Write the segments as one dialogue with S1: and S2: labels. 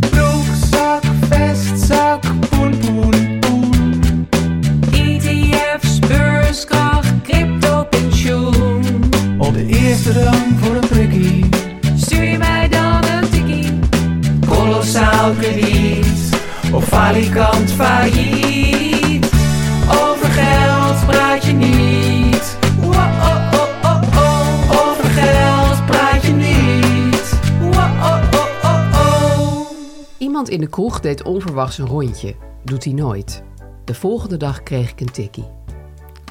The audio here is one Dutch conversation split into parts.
S1: Broekzak, vestzak, poen, poen, poen. ETF's, E beurskracht, crypto, pensioen.
S2: Op de eerste rang voor een prikkie.
S1: Stuur je mij dan een tikkie? Kolossaal krediet. Of falikant failliet. Over geld praat je niet. Wa-oh-oh-oh-oh. Over geld praat je niet. Wa-oh-oh-oh-oh.
S3: Iemand in de kroeg deed onverwachts een rondje. Doet hij nooit. De volgende dag kreeg ik een tikkie.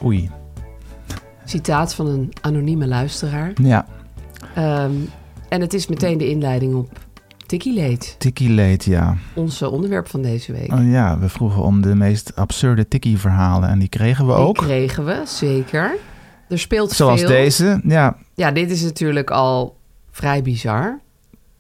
S4: Oei.
S3: Citaat van een anonieme luisteraar.
S4: Ja,
S3: Ehm, en het is meteen de inleiding op Tikkie Leed,
S4: tikkie late, ja.
S3: ons eh, onderwerp van deze week.
S4: Oh ja, we vroegen om de meest absurde tikkie-verhalen en die kregen we
S3: Die
S4: ook.
S3: kregen we, zeker. Er speelt
S4: Zoals
S3: veel.
S4: deze. Ja,
S3: Ja, dit is natuurlijk al vrij bizar.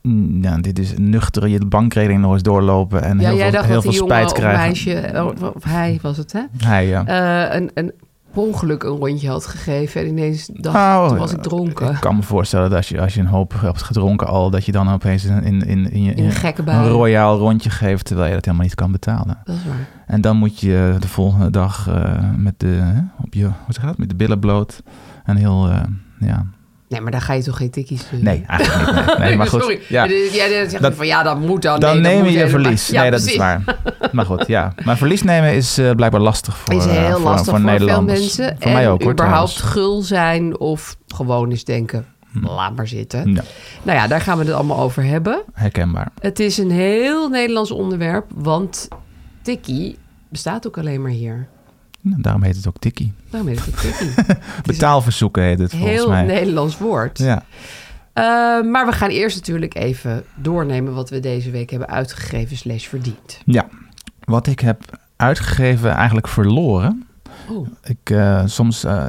S4: Mm, ja, dit is nuchter je bankrekening nog eens doorlopen en
S3: ja,
S4: heel
S3: jij
S4: veel,
S3: dacht
S4: heel
S3: dat
S4: veel
S3: die jongen
S4: spijt
S3: of
S4: krijgen.
S3: meisje, oh, of hij was het hè,
S4: Hij, ja.
S3: Eh, een, een per ongeluk een rondje had gegeven en ineens dacht,
S4: Nou,
S3: toen was ik dronken.
S4: Ik kan me voorstellen dat als je, als je een hoop hebt gedronken al, dat je dan opeens in, in, in, in, je-
S3: In een gekke bui.
S4: een royaal rondje geeft, terwijl je dat helemaal niet kan betalen.
S3: Dat is waar.
S4: En dan moet je de volgende dag eh, met, de, hè, op je, hoe zeg je dat? met de billen bloot en heel, eh, ja...
S3: Nee, maar daar ga je toch geen tikkie sturen?
S4: Nee, eigenlijk niet. Nee, nee, maar goed.
S3: Sorry.
S4: Ja.
S3: Dit- Jij zegt
S4: Dat-
S3: van ja, dat moet dan.
S4: dan
S3: nee, dat
S4: neem
S3: moet
S4: je je
S3: helemaal-
S4: verlies.
S3: Ja,
S4: nee, dat
S3: precies.
S4: is waar. Maar goed, ja. Maar verlies nemen is eh, blijkbaar lastig voor,
S3: is
S4: eh,
S3: heel
S4: voor,
S3: lastig voor, veel
S4: Nederlanders.
S3: mensen.
S4: Voor mij
S3: en
S4: ook, hoor,
S3: überhaupt
S4: trouwens. Hm.
S3: gul zijn of gewoon eens denken, laat maar zitten.
S4: Ja,
S3: Nou ja, daar gaan we het allemaal over hebben.
S4: herkenbaar.
S3: Het is een heel Nederlands onderwerp, want tikkie bestaat ook alleen maar hier.
S4: Nou, daarom heet het ook tikkie.
S3: Daarom heet het ook tikkie.
S4: Betaalverzoeken heet het volgens
S3: heel
S4: mij.
S3: Nederlands woord.
S4: Ja,
S3: Eh, maar we gaan eerst natuurlijk even doornemen wat we deze week hebben uitgegeven slash verdiend.
S4: ja. Wat ik heb uitgegeven, eigenlijk verloren.
S3: Oh.
S4: Ik, eh, soms, eh,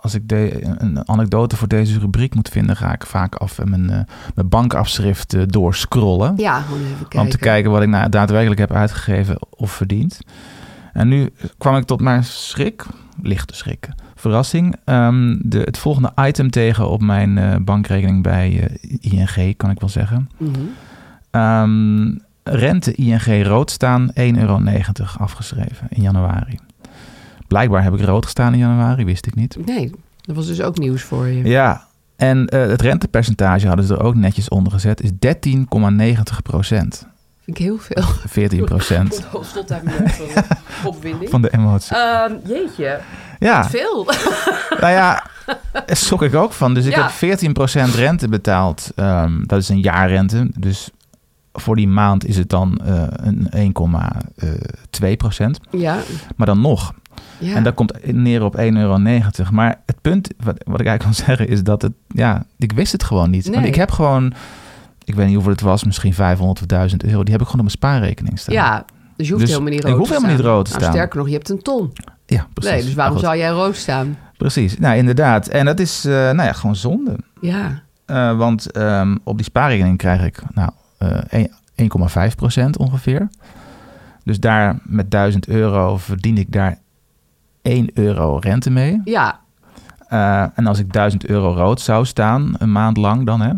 S4: als ik de, een anekdote voor deze rubriek moet vinden, ga ik vaak af en mijn, eh, mijn bankafschrift eh, doorscrollen.
S3: Ja, gewoon eens even kijken.
S4: Om te kijken wat ik nou daadwerkelijk heb uitgegeven of verdiend. En nu kwam ik tot mijn schrik, lichte schrik, verrassing, ehm, de, het volgende item tegen op mijn eh, bankrekening bij eh, ING, kan ik wel zeggen.
S3: Mhm.
S4: Ehm, rente ING rood staan, 1,90 euro afgeschreven in januari. Blijkbaar heb ik rood gestaan in januari, wist ik niet.
S3: Nee, dat was dus ook nieuws voor je.
S4: Ja, en eh, het rentepercentage hadden ze er ook netjes onder gezet, is 13,90 procent.
S3: Vind ik heel veel.
S4: 14 procent.
S3: Tot daar meer opwinding.
S4: Van de emotie.
S3: Ehm, jeetje,
S4: ja,
S3: veel.
S4: nou ja, daar schrok ik ook van. Dus ik
S3: Ja.
S4: heb 14% rente betaald. Ehm, dat is een jaarrente. Dus voor die maand is het dan eh, een 1,2%.
S3: Ja,
S4: Maar dan nog.
S3: ja.
S4: En dat komt neer op 1,90 euro. Maar het punt wat, wat ik eigenlijk wil zeggen is dat het... Ja, ik wist het gewoon niet. Want
S3: Nee.
S4: ik heb gewoon... Ik weet niet hoeveel het was, misschien 500 of 1000 euro. Die heb ik gewoon op mijn spaarrekening staan.
S3: ja, dus je hoeft
S4: Dus
S3: helemaal niet
S4: ik
S3: rood
S4: hoef
S3: te
S4: helemaal
S3: staan.
S4: niet rood te
S3: Nou,
S4: staan.
S3: sterker nog, je hebt een ton.
S4: ja precies.
S3: Nee, dus
S4: Maar
S3: waarom
S4: goed,
S3: zou jij rood staan?
S4: Precies. Nou, inderdaad. En dat is, eh, nou ja, gewoon zonde.
S3: Ja,
S4: Eh, want ehm, op die spaarrekening krijg ik nou, eh, een- 1,5% ongeveer. Dus daar met 1000 euro verdien ik daar 1 euro rente mee.
S3: ja,
S4: Eh, en als ik 1000 euro rood zou staan, een maand lang dan, hè,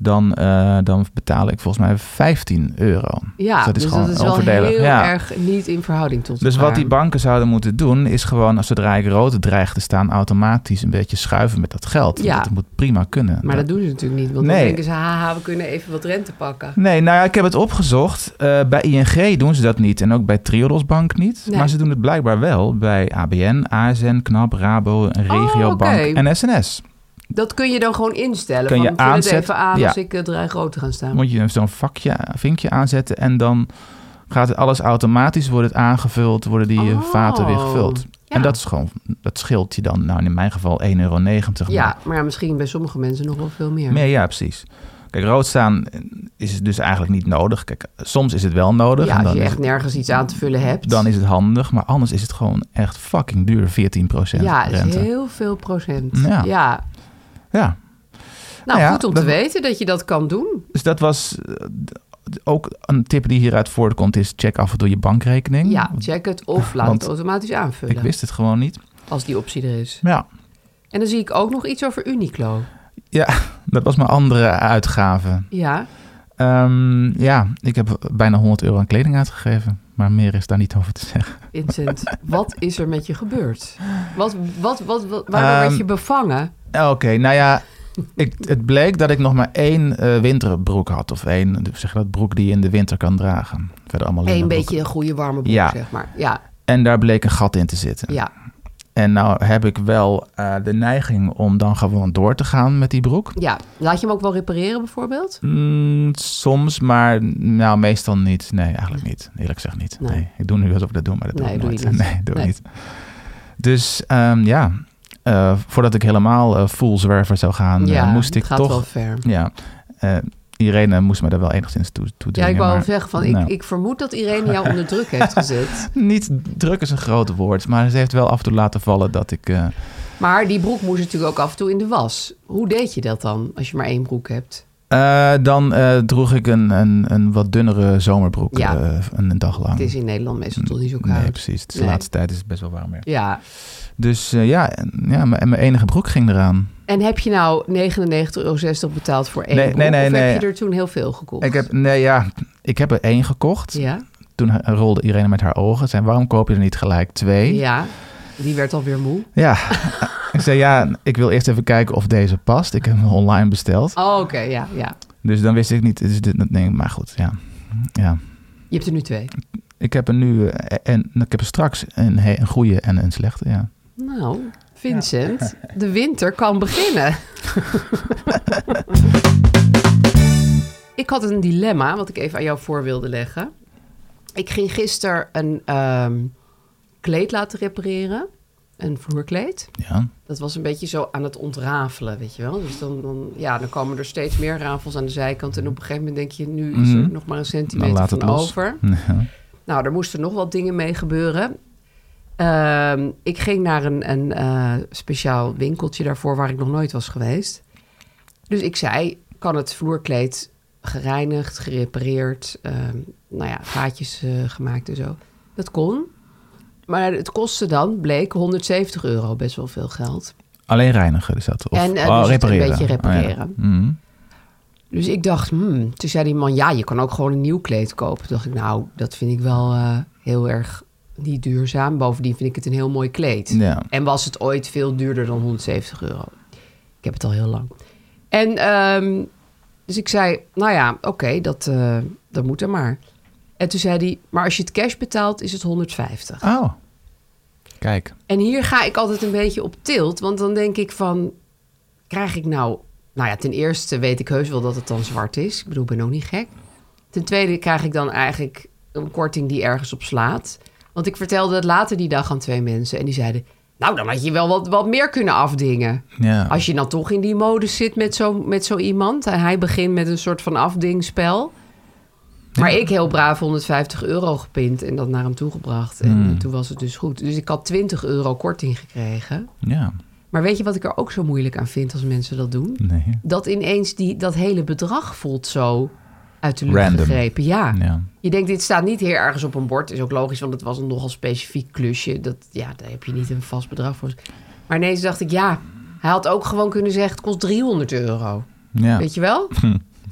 S4: dan, eh, dan betaal ik volgens mij 15 euro.
S3: Ja,
S4: Dus dat is gewoon
S3: wel
S4: onvoordelig.
S3: heel
S4: Ja.
S3: erg niet in verhouding tot
S4: Dus wat
S3: elkaar.
S4: die banken zouden moeten doen, is gewoon als zodra ik rood dreig te staan, automatisch een beetje schuiven met dat geld.
S3: Ja.
S4: Ja. Dat moet prima kunnen.
S3: Maar dat doen ze natuurlijk niet. Want dan
S4: Nee.
S3: denken ze, haha, we kunnen even wat rente pakken.
S4: Nee, nou ja, ik heb het opgezocht. Eh, bij ING doen ze dat niet en ook bij Triodos Bank niet.
S3: Nee.
S4: Maar ze doen het blijkbaar wel bij ABN, ASN, KNAP, Rabo, Regiobank
S3: Oh, oké.
S4: en SNS.
S3: Dat kun je dan gewoon instellen.
S4: Kun
S3: van,
S4: je
S3: vul het
S4: aanzet-
S3: even aan
S4: ja.
S3: als ik eh, dreig rood te gaan staan.
S4: Moet je zo'n vakje, vinkje aanzetten en dan gaat alles automatisch, wordt het aangevuld, worden die eh,
S3: Oh,
S4: vaten weer gevuld.
S3: ja.
S4: En dat is gewoon, dat scheelt je dan, nou in mijn geval 1,90 euro.
S3: Ja, maar misschien bij sommige mensen nog wel veel meer.
S4: Nee, ja, precies. Kijk, rood staan is dus eigenlijk niet nodig. Kijk, soms is het wel nodig.
S3: ja,
S4: en
S3: als
S4: dan,
S3: je
S4: is
S3: echt
S4: het,
S3: nergens iets aan te vullen hebt.
S4: dan is het handig. Maar anders is het gewoon echt fucking duur, 14 procent
S3: ja, het is
S4: rente.
S3: heel veel procent. Ja.
S4: Ja. Ja,
S3: Nou,
S4: Nou ja,
S3: goed om
S4: dat-
S3: te weten dat je dat kan doen.
S4: dus dat was eh, d- ook een tip die hieruit voortkomt is check af en toe je bankrekening.
S3: Ja,
S4: Want
S3: check het of laat
S4: Hmm. Want
S3: het automatisch aanvullen.
S4: Ik wist het gewoon niet.
S3: Als die optie er is.
S4: Maar ja,
S3: En dan zie ik ook nog iets over Uniqlo.
S4: ja, dat was mijn andere uitgave.
S3: Ja,
S4: Ehm, ja, ik heb bijna 100 euro aan kleding uitgegeven. Maar meer is daar niet over te zeggen.
S3: Vincent, wat is er met je gebeurd? Wat, wat, wat, wat, waarom werd
S4: Ehm,
S3: je bevangen?
S4: Oké, nou ja, ik, het bleek dat ik nog maar één eh, winterbroek had. Of één, zeg je dat, broek die je in de winter kan dragen. Verder allemaal
S3: Eén
S4: linnenbroeken.
S3: beetje een goede warme broek,
S4: Ja.
S3: zeg maar. Ja,
S4: En daar bleek een gat in te zitten.
S3: ja.
S4: En nou heb ik wel eh, de neiging om dan gewoon door te gaan met die broek.
S3: ja. Laat je hem ook wel repareren bijvoorbeeld?
S4: Mm, soms, maar nou meestal niet. Nee, eigenlijk niet. Eerlijk gezegd niet.
S3: Nee.
S4: Nee. Ik doe nu alsof ik dat doe, maar dat doe
S3: Nee,
S4: ik
S3: doe
S4: nooit.
S3: je niet.
S4: Nee, doe ik
S3: Nee.
S4: niet. Dus ehm, ja, eh, voordat ik helemaal eh full zwerver zou gaan, eh, moest ik
S3: het gaat
S4: toch
S3: wel ver.
S4: Ja, eh, Irene moest me daar wel enigszins toe, toe
S3: Ja,
S4: dwingen,
S3: ik wou
S4: maar-
S3: zeggen van, ik,
S4: nou,
S3: ik vermoed dat Irene jou onder druk heeft gezet.
S4: Niet druk is een groot woord, maar ze heeft wel af en toe laten vallen dat ik... eh,
S3: Maar die broek moest natuurlijk ook af en toe in de was. Hoe deed je dat dan, als je maar één broek hebt?
S4: eh, dan eh, droeg ik een, een, een wat dunnere zomerbroek
S3: Ja.
S4: eh, een, een dag lang.
S3: Het is in Nederland meestal toch niet zo koud.
S4: Mm, Nee, precies. Het is
S3: Nee.
S4: De laatste tijd is het best wel warm weer.
S3: Ja.
S4: Dus eh, ja, en, ja, m- en mijn enige broek ging eraan.
S3: En heb je nou 99,60 euro betaald voor één
S4: Nee,
S3: broek?
S4: nee, nee,
S3: of
S4: nee.
S3: heb je er toen heel veel gekocht?
S4: Ik heb, nee, ja, ik heb er één gekocht.
S3: Ja,
S4: Toen eh, rolde Irene met haar ogen. Zei, waarom koop je er niet gelijk twee?
S3: ja. Die werd alweer moe.
S4: Ja. ik zei, ja, ik wil eerst even kijken of deze past. Ik heb hem online besteld.
S3: Oh, oké, ja, ja.
S4: Dus dan wist ik niet, is dit, dat- nee, maar goed, ja. ja.
S3: Je hebt er nu twee.
S4: Ik heb er nu, eh, en ik heb er straks een, he- een goede en een slechte, ja.
S3: Nou, Vincent, de winter kan beginnen. ik had een dilemma wat ik even aan jou voor wilde leggen. Ik ging gisteren een ehm, kleed laten repareren. Een vloerkleed.
S4: Ja,
S3: Dat was een beetje zo aan het ontrafelen, weet je wel. Dus dan, dan, ja, dan komen er steeds meer rafels aan de zijkant. En op een gegeven moment denk je, nu is er
S4: Mhm.
S3: nog maar een
S4: dan
S3: centimeter
S4: laat
S3: van
S4: het los.
S3: over.
S4: Ja.
S3: Nou, er moesten nog wat dingen mee gebeuren. Ehm, ik ging naar een, een eh, speciaal winkeltje daarvoor waar ik nog nooit was geweest. Dus ik zei, kan het vloerkleed gereinigd, gerepareerd, ehm, nou ja, gaatjes eh, gemaakt en zo. Dat kon. Maar het kostte dan, bleek, 170 euro, best wel veel geld.
S4: Alleen reinigen is dat, of
S3: En, eh,
S4: oh,
S3: dus het een
S4: repareren.
S3: beetje repareren.
S4: Oh, ja. Mhm.
S3: Dus ik dacht, hmm. toen zei die man, ja, je kan ook gewoon een nieuw kleed kopen. Toen dacht ik, nou, dat vind ik wel eh, heel erg niet duurzaam. Bovendien vind ik het een heel mooi kleed.
S4: Ja.
S3: En was het ooit veel duurder dan 170 euro? Ik heb het al heel lang. En ehm, dus ik zei, nou ja, oké, dat, eh, dat moet er maar. En toen zei hij, maar als je het cash betaalt, is het 150.
S4: Oh, kijk.
S3: En hier ga ik altijd een beetje op tilt. Want dan denk ik van, krijg ik nou... Nou ja, ten eerste weet ik heus wel dat het dan zwart is. Ik bedoel, ik ben ook niet gek. Ten tweede krijg ik dan eigenlijk een korting die ergens op slaat. Want ik vertelde het later die dag aan twee mensen. En die zeiden, nou dan had je wel wat, wat meer kunnen afdingen.
S4: Ja.
S3: Als je dan toch in die mode zit met zo, met zo iemand. En hij begint met een soort van afdingspel. Maar ik heel braaf 150 euro gepind en dat naar hem toegebracht. En
S4: Hmm.
S3: toen was het dus goed. Dus ik had 20 euro korting gekregen.
S4: Ja,
S3: Maar weet je wat ik er ook zo moeilijk aan vind als mensen dat doen?
S4: nee.
S3: Dat ineens die, dat hele bedrag voelt zo uit de lucht
S4: Random.
S3: gegrepen. Ja.
S4: Ja.
S3: Je denkt, dit staat niet hier ergens op een bord. Is ook logisch, want het was een nogal specifiek klusje. Dat, ja, daar heb je niet een vast bedrag voor. Maar ineens dacht ik, ja, hij had ook gewoon kunnen zeggen... het kost 300 euro.
S4: Ja.
S3: Weet je wel?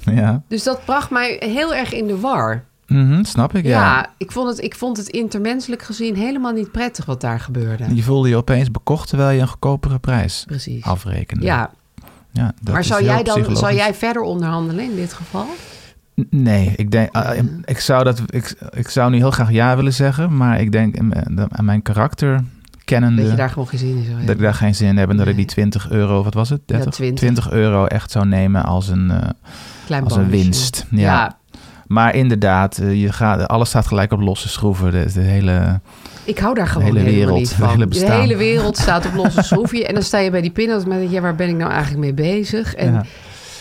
S4: Ja.
S3: Dus dat bracht mij heel erg in de war.
S4: Mhm, snap ik, ja.
S3: Ja, ik, vond het, ik vond het intermenselijk gezien helemaal niet prettig wat daar gebeurde.
S4: Je voelde je opeens bekocht terwijl je een goedkopere prijs
S3: Precies.
S4: afrekende.
S3: Ja,
S4: Ja, dat
S3: maar
S4: is
S3: zou
S4: heel
S3: jij, dan, zou
S4: psychologisch.
S3: jij verder onderhandelen in dit geval?
S4: N- Nee, ik, denk, ah,
S3: Mm-hmm.
S4: ik, zou dat, ik, ik zou nu heel graag ja willen zeggen, maar ik denk aan mijn- aan mijn karakter kennende...
S3: Dat je daar gewoon geen zin in zou
S4: dat ik
S3: hebben.
S4: daar geen zin in heb en dat ik die
S3: Nee.
S4: 20 euro, wat was het? 30?
S3: 20.
S4: euro echt zou nemen als een, eh,
S3: Klein
S4: als een
S3: bonusje.
S4: winst. Ja.
S3: Ja,
S4: Maar inderdaad, eh, je gaat, alles staat gelijk op losse schroeven. De, de hele,
S3: ik hou daar gewoon
S4: hele
S3: helemaal
S4: wereld,
S3: niet
S4: het
S3: van.
S4: hele
S3: de
S4: bestaan.
S3: hele wereld staat op losse schroefje. En dan sta je bij die pindas met, ja, waar ben ik nou eigenlijk mee bezig? En,
S4: Ja.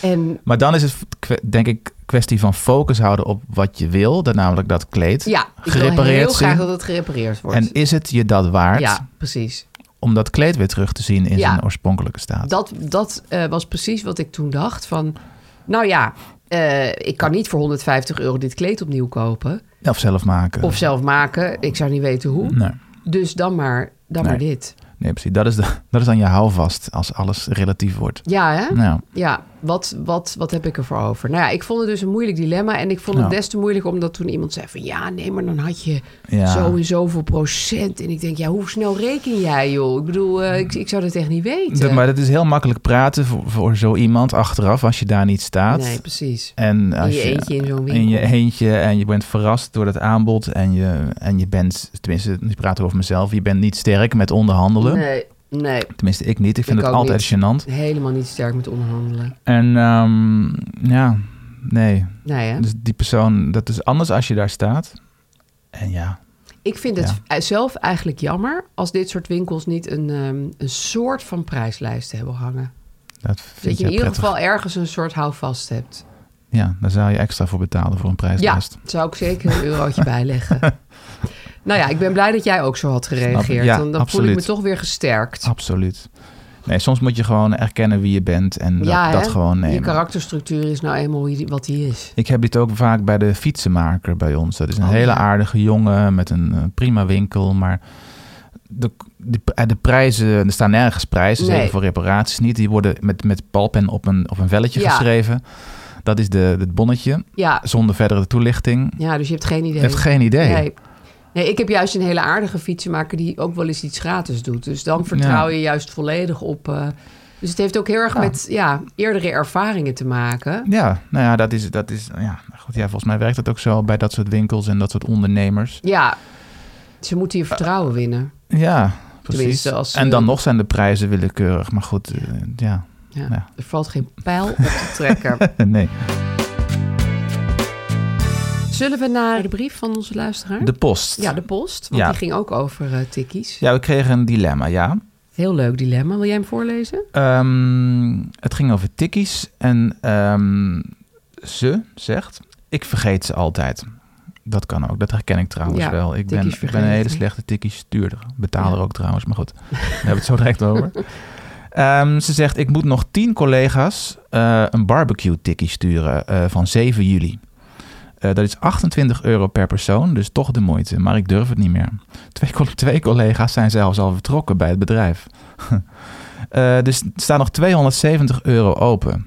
S3: en
S4: Maar dan is het, kwe- denk ik, kwestie van focus houden op wat je wil. Dat namelijk dat kleed
S3: ja, ik wil
S4: gerepareerd
S3: heel graag
S4: zien.
S3: dat het gerepareerd wordt.
S4: En is het je dat waard
S3: ja, precies.
S4: om dat kleed weer terug te zien in
S3: Ja.
S4: zijn oorspronkelijke staat?
S3: Dat, dat eh, was precies wat ik toen dacht. Van, nou ja, eh, ik kan niet voor 150 euro dit kleed opnieuw kopen.
S4: Of zelf maken.
S3: Of zelf maken. Ik zou niet weten hoe.
S4: Nee.
S3: Dus dan maar, dan
S4: Nee.
S3: maar dit.
S4: Nee, precies. Dat is, de, dat is dan je houvast als alles relatief wordt.
S3: Ja, hè?
S4: Nou,
S3: Ja, wat, wat, wat heb ik ervoor over? Nou ja, ik vond het dus een moeilijk dilemma. En ik vond het
S4: Ja.
S3: des te moeilijker omdat toen iemand zei van... ja, nee, maar dan had je
S4: Ja.
S3: zo en zoveel procent. En ik denk, ja, hoe snel reken jij, joh? Ik bedoel, eh, ik, ik zou dat echt niet weten.
S4: dat, maar dat is heel makkelijk praten voor, voor zo iemand achteraf als je daar niet staat.
S3: Nee, precies.
S4: En als
S3: je eentje in zo'n
S4: In je
S3: winkel.
S4: eentje en je bent verrast door dat aanbod. En je, en je bent, tenminste, nu praten we over mezelf. Je bent niet sterk met onderhandelen.
S3: Nee, nee,
S4: Tenminste, ik niet. Ik vind
S3: Ik
S4: het
S3: ook
S4: altijd gênant.
S3: helemaal niet sterk met onderhandelen.
S4: En ehm, ja, nee.
S3: Nee, hè?
S4: Dus die persoon, dat is anders als je daar staat. En ja,
S3: Ik vind het eh, zelf eigenlijk jammer... als dit soort winkels niet een, ehm, een soort van prijslijst hebben hangen.
S4: dat
S3: Dat
S4: vind
S3: je
S4: jij
S3: in ieder
S4: prettig.
S3: geval ergens een soort houvast hebt.
S4: Ja, daar zou je extra voor betalen voor een
S3: Ja,
S4: prijslijst.
S3: zou ik zeker een eurotje bijleggen. Nou ja, ik ben blij dat jij ook zo had
S4: Snap ik.
S3: gereageerd.
S4: Ja,
S3: dan dan voel
S4: absoluut. Oh,
S3: ik me toch weer gesterkt.
S4: Absoluut. Nee, soms moet je gewoon erkennen wie je bent en dat,
S3: ja,
S4: dat
S3: hè?
S4: gewoon nemen.
S3: Je karakterstructuur is nou eenmaal wie die- wat die is.
S4: Ik heb dit ook vaak bij de fietsenmaker bij ons. Dat is een
S3: Oh,
S4: hele
S3: ja.
S4: aardige jongen met een eh, prima winkel, maar de, de, eh, de prijzen, er staan nergens prijzen,
S3: Nee.
S4: zeker voor reparaties niet. Die worden met, met palpen op een, op een velletje
S3: Ja.
S4: geschreven. Dat is de, het bonnetje,
S3: Ja,
S4: zonder verdere toelichting.
S3: ja dus je hebt geen idee.
S4: Je hebt geen idee.
S3: Nee. Nee, ik heb juist een hele aardige fietsenmaker die ook wel eens iets gratis doet. Dus dan vertrouw
S4: Ja.
S3: je juist volledig op. eh, dus het heeft ook heel erg met ja, eerdere ervaringen te maken.
S4: Ja, nou ja, dat is, dat is ja, goed, ja, volgens mij werkt dat ook zo bij dat soort winkels en dat soort ondernemers.
S3: Ja, ze moeten je vertrouwen winnen.
S4: Ja, precies.
S3: Tenminste, als ze-
S4: en dan nog zijn de prijzen willekeurig, maar goed, eh, ja.
S3: Ja,
S4: Ja.
S3: Er valt geen pijl op te trekken.
S4: nee.
S3: Zullen we naar de brief van onze luisteraar?
S4: De post.
S3: Ja, de post. Want
S4: Ja.
S3: die ging ook over eh, tikkies.
S4: Ja, we kregen een dilemma, ja.
S3: Heel leuk dilemma. Wil jij hem voorlezen?
S4: Ehm, het ging over tikkies en ehm, ze zegt, ik vergeet ze altijd. Dat kan ook, dat herken ik trouwens
S3: Ja,
S4: wel. Ik ben,
S3: tikkies
S4: ik ben een hele
S3: vergeten.
S4: slechte tikkie-stuurder. Betaler ook trouwens, maar goed, daar hebben we het zo direct over. Ehm, ze zegt, ik moet nog tien collega's eh, een barbecue-tikkie sturen eh, van 7 juli. Eh, dat is 28 euro per persoon, dus toch de moeite. Maar ik durf het niet meer. Twee, col- twee collega's zijn zelfs al vertrokken bij het bedrijf. Eh, dus er staan nog 270 euro open.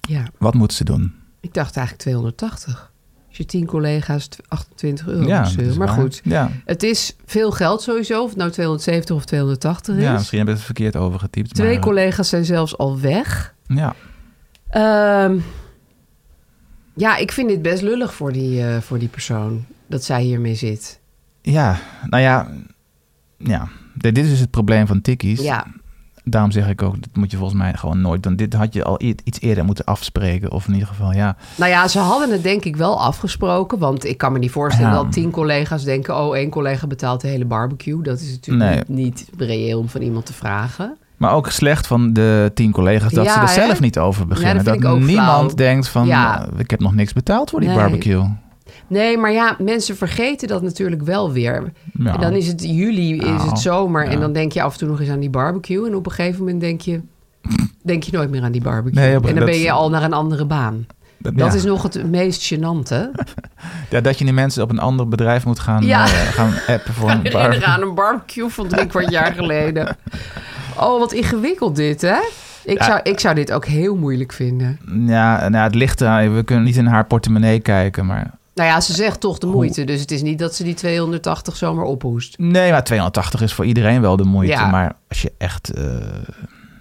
S3: Ja.
S4: Wat moeten ze doen?
S3: Ik dacht eigenlijk 280. Als je 10 collega's tw- 28 euro moet
S4: dat
S3: sturen.
S4: is
S3: Maar
S4: waar.
S3: goed,
S4: Ja,
S3: het is veel geld sowieso. Of het nou 270 of 280 is.
S4: ja misschien hebben we het verkeerd overgetypt.
S3: Twee
S4: maar, eh,
S3: collega's zijn zelfs al weg.
S4: Ja,
S3: Ehm, ja, ik vind dit best lullig voor die, eh, voor die persoon. Dat zij hiermee zit.
S4: ja, nou ja. ja. D- Dit is dus het probleem van tikkies.
S3: Ja,
S4: Daarom zeg ik ook, dat moet je volgens mij gewoon nooit... Dan dit had je al i- iets eerder moeten afspreken. Of in ieder geval, ja.
S3: Nou ja, ze hadden het denk ik wel afgesproken. Want ik kan me niet voorstellen
S4: Ja.
S3: dat tien collega's denken... oh, één collega betaalt de hele barbecue. Dat is natuurlijk
S4: Nee.
S3: niet, niet reëel om van iemand te vragen.
S4: Maar ook slecht van de tien collega's dat
S3: Ja,
S4: ze er
S3: hè?
S4: zelf niet over beginnen.
S3: Ja, dat vind ik ook
S4: niemand
S3: flauw.
S4: denkt van,
S3: Ja.
S4: eh, ik heb nog niks betaald voor die
S3: Nee.
S4: barbecue.
S3: Nee, maar ja, mensen vergeten dat natuurlijk wel weer.
S4: Ja.
S3: En dan is het juli, is
S4: Nou,
S3: het zomer.
S4: ja.
S3: En dan denk je af en toe nog eens aan die barbecue. En op een gegeven moment denk je... Denk je nooit meer aan die barbecue.
S4: Nee, op-
S3: en dan
S4: dat-
S3: ben je al naar een andere baan.
S4: Dat,
S3: Dat
S4: ja.
S3: is nog het meest gênante.
S4: Ja, dat je die mensen op een ander bedrijf moet gaan,
S3: Ja.
S4: eh, gaan appen voor een
S3: herinneren
S4: barbecue.
S3: aan een barbecue van drie kwart jaar geleden. Oh, wat ingewikkeld dit, hè? Ik, zou, ik zou dit ook heel moeilijk vinden.
S4: Ja, nou, ja, het ligt eraan. We kunnen niet in haar portemonnee kijken, maar...
S3: Nou ja, ze zegt toch de moeite. Dus het is niet dat ze die 280 zomaar ophoest.
S4: Nee, maar 280 is voor iedereen wel de moeite.
S3: Ja.
S4: Maar als je echt... eh,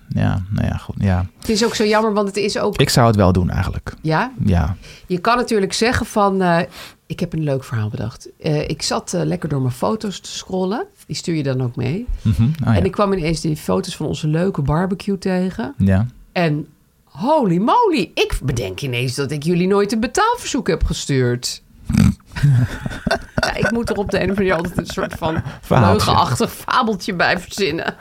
S4: ja, nou ja, goed. Ja.
S3: Het is ook zo jammer, want het is ook...
S4: Ik zou het wel doen eigenlijk.
S3: Ja?
S4: Ja.
S3: Je kan natuurlijk zeggen van... eh, ik heb een leuk verhaal bedacht. Eh, ik zat eh, lekker door mijn foto's te scrollen. Die stuur je dan ook mee.
S4: Mhm. Ah, ja.
S3: En ik kwam ineens die foto's van onze leuke barbecue tegen.
S4: ja.
S3: En holy moly, ik bedenk ineens dat ik jullie nooit een betaalverzoek heb gestuurd. ja, ik moet er op de een of andere manier altijd een soort van
S4: Verhaaltje.
S3: leugenachtig fabeltje bij verzinnen.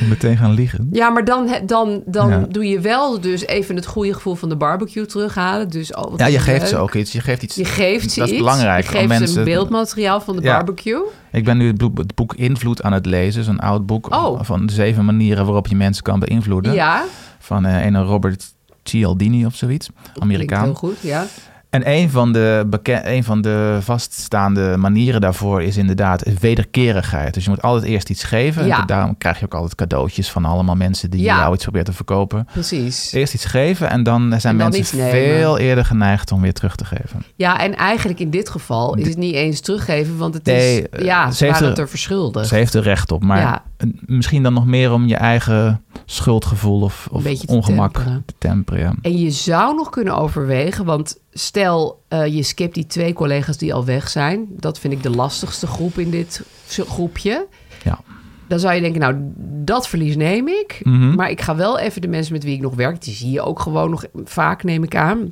S4: Moet Meteen gaan liggen.
S3: Ja, maar dan, he- dan, dan
S4: Ja.
S3: doe je wel dus even het goede gevoel van de barbecue terughalen. Dus, oh, wat
S4: Ja, je
S3: is
S4: geeft
S3: leuk.
S4: ze ook iets. Je geeft iets.
S3: Je geeft ze
S4: Dat is
S3: iets.
S4: belangrijk.
S3: Je
S4: om
S3: geeft ze
S4: mensen...
S3: een beeldmateriaal van de
S4: Ja.
S3: barbecue.
S4: Ik ben nu het boek, het boek Invloed aan het lezen. Zo'n oud boek
S3: Oh.
S4: van de zeven manieren waarop je mensen kan beïnvloeden.
S3: Ja,
S4: Van eh een Robert Cialdini of zoiets.
S3: klinkt heel
S4: Amerikaan.
S3: goed. Ja.
S4: En een van, de beken- een van de vaststaande manieren daarvoor is inderdaad wederkerigheid. Dus je moet altijd eerst iets geven.
S3: Ja.
S4: En daarom krijg je ook altijd cadeautjes van allemaal mensen die
S3: Ja.
S4: jou iets proberen te verkopen.
S3: Precies.
S4: Eerst iets geven en dan zijn
S3: En dan iets
S4: mensen
S3: nemen.
S4: veel eerder geneigd om weer terug te geven.
S3: Ja, en eigenlijk in dit geval is het niet eens teruggeven, want het
S4: Nee,
S3: is, ja,
S4: eh,
S3: ze
S4: ze heeft
S3: waren
S4: er-
S3: het er verschuldigd.
S4: Ze heeft er recht op, maar
S3: Ja.
S4: misschien dan nog meer om je eigen schuldgevoel of, of
S3: beetje te
S4: ongemak
S3: temperen.
S4: te temperen. ja.
S3: En je zou nog kunnen overwegen, want stel eh, je skipt die twee collega's die al weg zijn. Dat vind ik de lastigste groep in dit zo- groepje.
S4: Ja.
S3: Dan zou je denken, nou, dat verlies neem ik.
S4: Mhm.
S3: Maar ik ga wel even de mensen met wie ik nog werk, die zie je ook gewoon nog vaak, neem ik aan.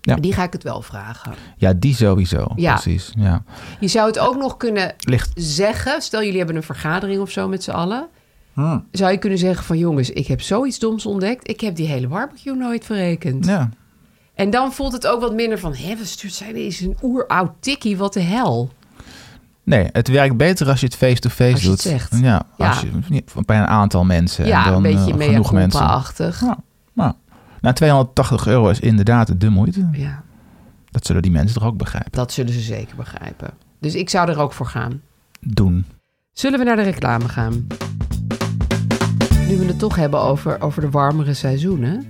S4: Ja.
S3: Die ga ik het wel vragen.
S4: Ja, die sowieso.
S3: Ja.
S4: Precies. Ja.
S3: Je zou het ook nog kunnen
S4: Ligt.
S3: zeggen, stel jullie hebben een vergadering of zo met z'n allen.
S4: Hmm.
S3: Zou je kunnen zeggen van jongens, ik heb zoiets doms ontdekt. Ik heb die hele barbecue nooit verrekend.
S4: Ja.
S3: En dan voelt het ook wat minder van... hè, we stuurt zij deze een oeroud tikkie, wat de hel.
S4: Nee, het werkt beter als je het face-to-face
S3: Als je het
S4: doet.
S3: zegt.
S4: Ja,
S3: Ja.
S4: Als je, bij een aantal mensen.
S3: Ja,
S4: en dan,
S3: een beetje
S4: eh,
S3: mea
S4: genoeg mensen.
S3: culpa-achtig.
S4: Ja, maar, nou, 280 euro is inderdaad de moeite.
S3: Ja,
S4: Dat zullen die mensen toch ook begrijpen.
S3: dat zullen ze zeker begrijpen. Dus ik zou er ook voor gaan.
S4: Doen.
S3: Zullen we naar de reclame gaan? Nu we het toch hebben over, over de warmere seizoenen...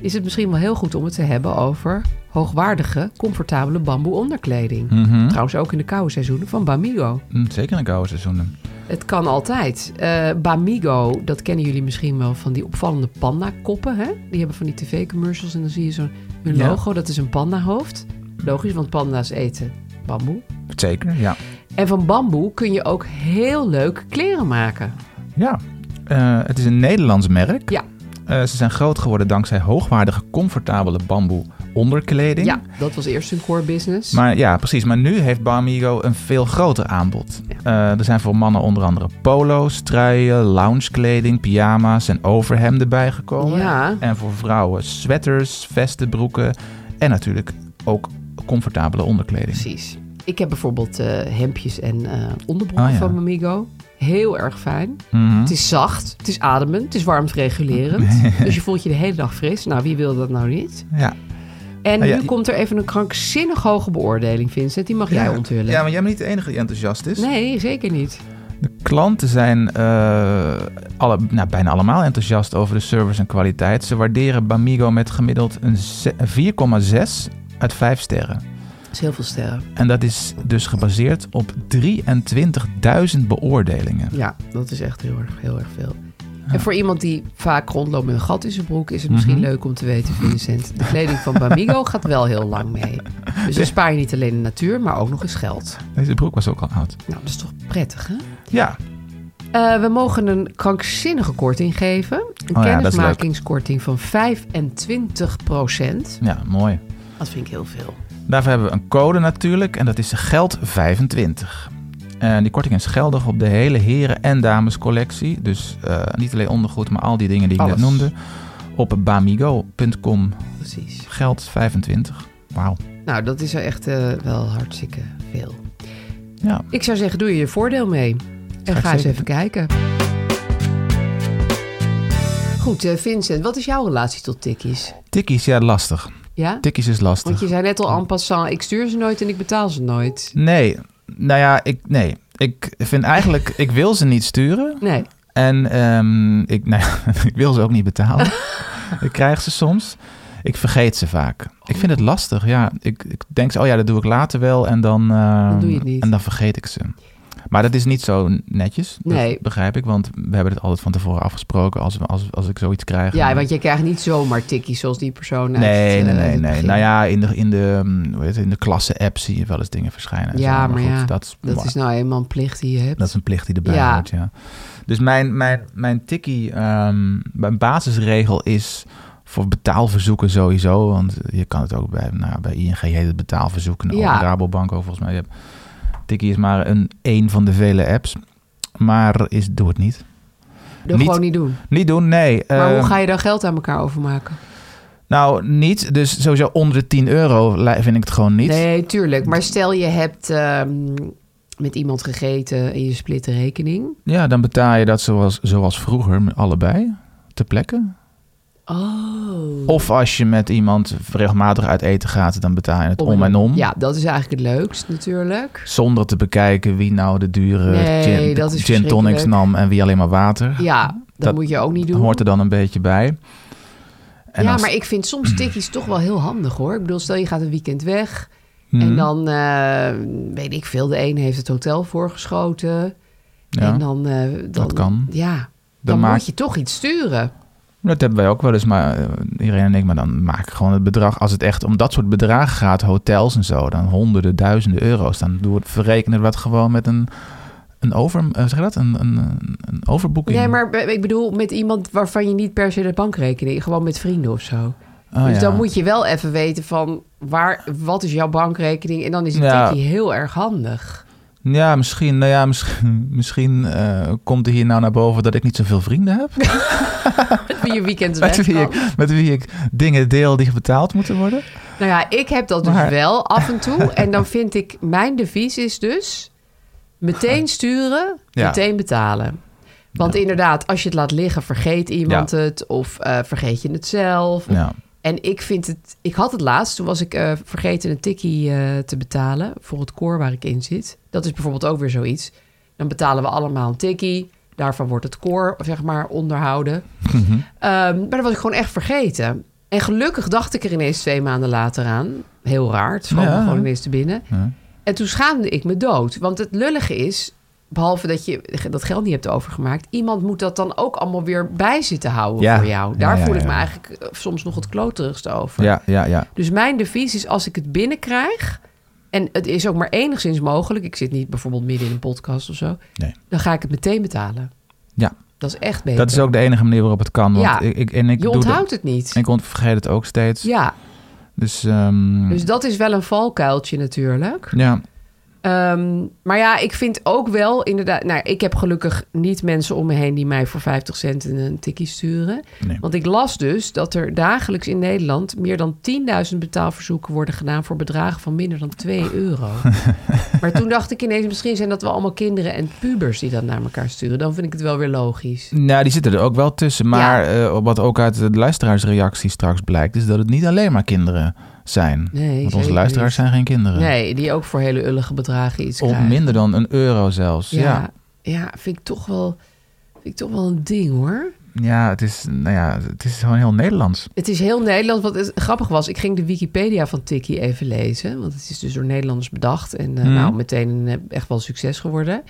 S3: is het misschien wel heel goed om het te hebben over... hoogwaardige, comfortabele bamboe onderkleding.
S4: Mhm.
S3: Trouwens ook in de koude seizoenen van Bamigo.
S4: Mm, Zeker in de koude seizoenen.
S3: Het kan altijd. Eh, Bamigo, dat kennen jullie misschien wel van die opvallende panda-koppen. Hè? Die hebben van die tv-commercials en dan zie je zo'n hun
S4: Ja.
S3: logo, dat is een panda-hoofd. Logisch, want panda's eten bamboe.
S4: Zeker, ja.
S3: En van bamboe kun je ook heel leuk kleren maken.
S4: Ja, eh, het is een Nederlands merk.
S3: Ja.
S4: Eh, ze zijn groot geworden dankzij hoogwaardige, comfortabele bamboe onderkleding.
S3: Ja, dat was eerst hun core business.
S4: Maar ja, precies. Maar nu heeft Barmigo een veel groter aanbod. Eh, er zijn voor mannen onder andere polo's, truien, loungekleding, pyjama's en overhemden bijgekomen.
S3: Ja.
S4: En voor vrouwen sweaters, vesten, broeken en natuurlijk ook comfortabele onderkleding.
S3: Precies. Ik heb bijvoorbeeld eh, hemdjes en eh, onderbroeken
S4: Ah, ja.
S3: van Bamigo. Heel erg fijn.
S4: Mhm.
S3: Het is zacht, het is ademend, het is warmteregulerend. dus je voelt je de hele dag fris. Nou, wie wil dat nou niet?
S4: Ja.
S3: En
S4: Nou ja,
S3: nu
S4: je-
S3: komt er even een krankzinnig hoge beoordeling, Vincent. Die mag jij onthullen.
S4: Ja, maar jij bent niet de enige die enthousiast is.
S3: Nee, zeker niet.
S4: De klanten zijn eh, alle, nou, bijna allemaal enthousiast over de service en kwaliteit. Ze waarderen Bamigo met gemiddeld een ze- 4,6 uit 5 sterren.
S3: Dat is heel veel sterren.
S4: En dat is dus gebaseerd op 23.000 beoordelingen.
S3: Ja, dat is echt heel erg, heel erg veel. En voor iemand die vaak rondloopt met een gat in zijn broek... is het misschien leuk om te weten, Vincent. De kleding van Bamigo gaat wel heel lang mee. Dus dan spaar je niet alleen de natuur, maar ook nog eens geld.
S4: Deze broek was ook al oud.
S3: Nou, dat is toch prettig, hè?
S4: Ja,
S3: Eh, we mogen een krankzinnige korting geven. Een
S4: Oh ja, dat is leuk.
S3: kennismakingskorting van 25
S4: ja mooi.
S3: Dat vind ik heel veel.
S4: Daarvoor hebben we een code natuurlijk en dat is GELD25. En die korting is geldig op de hele heren- en damescollectie. Dus eh, niet alleen ondergoed, maar al die dingen die ik net
S3: Alles.
S4: noemde. Op bamigo.com
S3: Precies.
S4: GELD25. Wauw.
S3: Nou, dat is er echt eh, wel hartstikke veel.
S4: Ja.
S3: Ik zou zeggen, doe je je voordeel mee. En
S4: ik
S3: ga eens
S4: zeker
S3: even kijken. Goed, eh, Vincent, wat is jouw relatie tot tikkies?
S4: Tikkies, ja, lastig.
S3: Ja?
S4: Tikkies is lastig.
S3: Want je zei net al en passant, ik stuur ze nooit en ik betaal ze nooit.
S4: Nee, nou ja, ik, nee. Ik vind eigenlijk, ik wil ze niet sturen.
S3: Nee,
S4: En ehm, ik, nou, ja, ik wil ze ook niet betalen. ik krijg ze soms. Ik vergeet ze vaak. Ik vind het lastig. Ja, ik, ik denk, oh ja, dat doe ik later wel. En dan, ehm,
S3: Dan doe je het niet.
S4: En dan vergeet ik ze. Maar dat is niet zo netjes. Dat
S3: Nee.
S4: begrijp ik. Want we hebben het altijd van tevoren afgesproken als, we- als, als ik zoiets krijg.
S3: Ja,
S4: En-
S3: want je krijgt niet zomaar tikkies zoals die persoon. uit
S4: Nee,
S3: het,
S4: nee,
S3: eh,
S4: nee,
S3: het
S4: nee.
S3: begin.
S4: Nou ja, in de, in de, hm, hoe heet het, in de klasse-app zie je wel eens dingen verschijnen. en zo.
S3: ja, maar
S4: goed,
S3: ja,
S4: dat is,
S3: dat is nou eenmaal een plicht die je hebt.
S4: dat is een plicht die erbij
S3: Ja.
S4: hoort, ja. Dus mijn, mijn, mijn tikkie, ehm, mijn basisregel is voor betaalverzoeken sowieso. Want je kan het ook bij, nou, bij ING heet het betaalverzoeken. Ook
S3: Ja.
S4: Rabobank ook volgens mij. Je hebt- Tikkie is maar een, een van de vele apps. Maar is, doe het niet.
S3: Dat
S4: niet-
S3: gewoon niet doen.
S4: Niet doen, nee.
S3: Maar hoe
S4: Ehm,
S3: ga je dan geld aan elkaar overmaken?
S4: Nou, niet. Dus sowieso onder de 10 euro li- vind ik het gewoon niet.
S3: Nee, tuurlijk. Maar stel je hebt ehm, met iemand gegeten en je split de rekening.
S4: Ja, dan betaal je dat zoals, zoals vroeger met allebei ter plekke.
S3: Oh.
S4: Of als je met iemand regelmatig uit eten gaat, dan betaal je het om, en om.
S3: Ja, dat is eigenlijk het leukst natuurlijk.
S4: Zonder te bekijken wie nou de dure
S3: Nee,
S4: gin,
S3: dat is
S4: gin tonics
S3: verschrikkelijk.
S4: nam en wie alleen maar water.
S3: Ja, dat,
S4: Dat
S3: moet je ook niet doen.
S4: Hoort er dan een beetje bij. En
S3: ja,
S4: als-
S3: maar ik vind soms tikkies toch wel heel handig hoor. Ik bedoel, stel je gaat een weekend weg
S4: Hmm.
S3: en dan eh, weet ik veel. De een heeft het hotel voorgeschoten.
S4: Ja.
S3: En dan, eh, dan.
S4: Dat kan.
S3: Ja, dan,
S4: maak-
S3: moet je toch iets sturen.
S4: Dat hebben wij ook wel eens, maar eh, iedereen en ik, maar dan maak ik gewoon het bedrag. Als het echt om dat soort bedragen gaat, hotels en zo, dan honderden, duizenden euro's. Dan doe het, verrekenen we dat gewoon met een, een, over, eh, zeg je dat? Een, een, een- een overboeking.
S3: Nee, maar be- ik bedoel, met iemand waarvan je niet per se de bankrekening, gewoon met vrienden of zo.
S4: Oh,
S3: dus
S4: ja.
S3: dan moet je wel even weten van waar, wat is jouw bankrekening? En dan is een
S4: Ja.
S3: tikkie heel erg handig.
S4: Ja, misschien, nou ja, misschien, misschien eh, komt er hier nou naar boven dat ik niet zoveel vrienden heb.
S3: Met je weekend
S4: met,
S3: weg.
S4: wie
S3: kan.
S4: ik, met wie ik dingen deel die betaald moeten worden.
S3: Nou ja, ik heb dat dus
S4: Maar-
S3: wel af en toe. En dan vind ik, mijn devies is dus meteen sturen,
S4: Ja.
S3: meteen betalen. Want inderdaad, als je het laat liggen, vergeet iemand
S4: Ja.
S3: het of eh, vergeet je het zelf.
S4: Ja.
S3: En ik vind het, ik had het laatst, toen was ik eh, vergeten een tikkie eh, te betalen voor het koor waar ik in zit. Dat is bijvoorbeeld ook weer zoiets. Dan betalen we allemaal een tikkie. Daarvan wordt het koor, zeg maar, onderhouden.
S4: Mhm.
S3: Ehm, maar dat was ik gewoon echt vergeten. En gelukkig dacht ik er ineens twee maanden later aan. Heel raar, het schoot me
S4: Ja.
S3: gewoon ineens te binnen. En toen schaamde ik me dood. Want het lullige is, behalve dat je dat geld niet hebt overgemaakt... iemand moet dat dan ook allemaal weer bij zitten houden
S4: Ja.
S3: voor jou.
S4: Ja,
S3: Daar
S4: ja,
S3: voel ik
S4: ja.
S3: me eigenlijk eh, soms nog het kloterigste over.
S4: ja, ja, ja.
S3: Dus mijn devies is als ik het binnenkrijg... en het is ook maar enigszins mogelijk... ik zit niet bijvoorbeeld midden in een podcast of zo...
S4: Nee.
S3: dan ga ik het meteen betalen.
S4: Ja,
S3: Dat is echt beter.
S4: dat is ook de enige manier waarop het kan. Want
S3: Ja.
S4: ik, ik, en ik
S3: je
S4: doe
S3: onthoudt
S4: dat,
S3: het niet.
S4: Ik ont- vergeet het ook steeds.
S3: Ja,
S4: Dus, ehm,
S3: dus dat is wel een valkuiltje natuurlijk.
S4: ja.
S3: Ehm, maar ja, ik vind ook wel inderdaad... Nou, ik heb gelukkig niet mensen om me heen die mij voor 50 cent een- een tikkie sturen.
S4: Nee.
S3: Want ik las dus dat er dagelijks in Nederland... meer dan 10.000 betaalverzoeken worden gedaan... voor bedragen van minder dan 2 euro. maar toen dacht ik ineens... misschien zijn dat wel allemaal kinderen en pubers die dat naar elkaar sturen. Dan vind ik het wel weer logisch.
S4: Nou, die zitten er ook wel tussen. Maar eh, wat ook uit de luisteraarsreactie straks blijkt, is dat het niet alleen maar kinderen zijn.
S3: Nee,
S4: Want onze
S3: zeker
S4: luisteraars
S3: niet.
S4: zijn geen kinderen.
S3: Nee, die ook voor hele ullige bedragen iets
S4: Of
S3: krijgen.
S4: minder dan een euro zelfs. Ja,
S3: Ja,
S4: ja.
S3: ja vind, ik toch wel, vind ik toch wel een ding hoor.
S4: het, is, nou ja het is gewoon heel Nederlands.
S3: Het is heel Nederlands. Wat het grappig was, ik ging de Wikipedia van Tikkie even lezen. Want het is dus door Nederlanders bedacht. En
S4: Mhm.
S3: eh, nou, meteen een, eh, echt wel een succes geworden.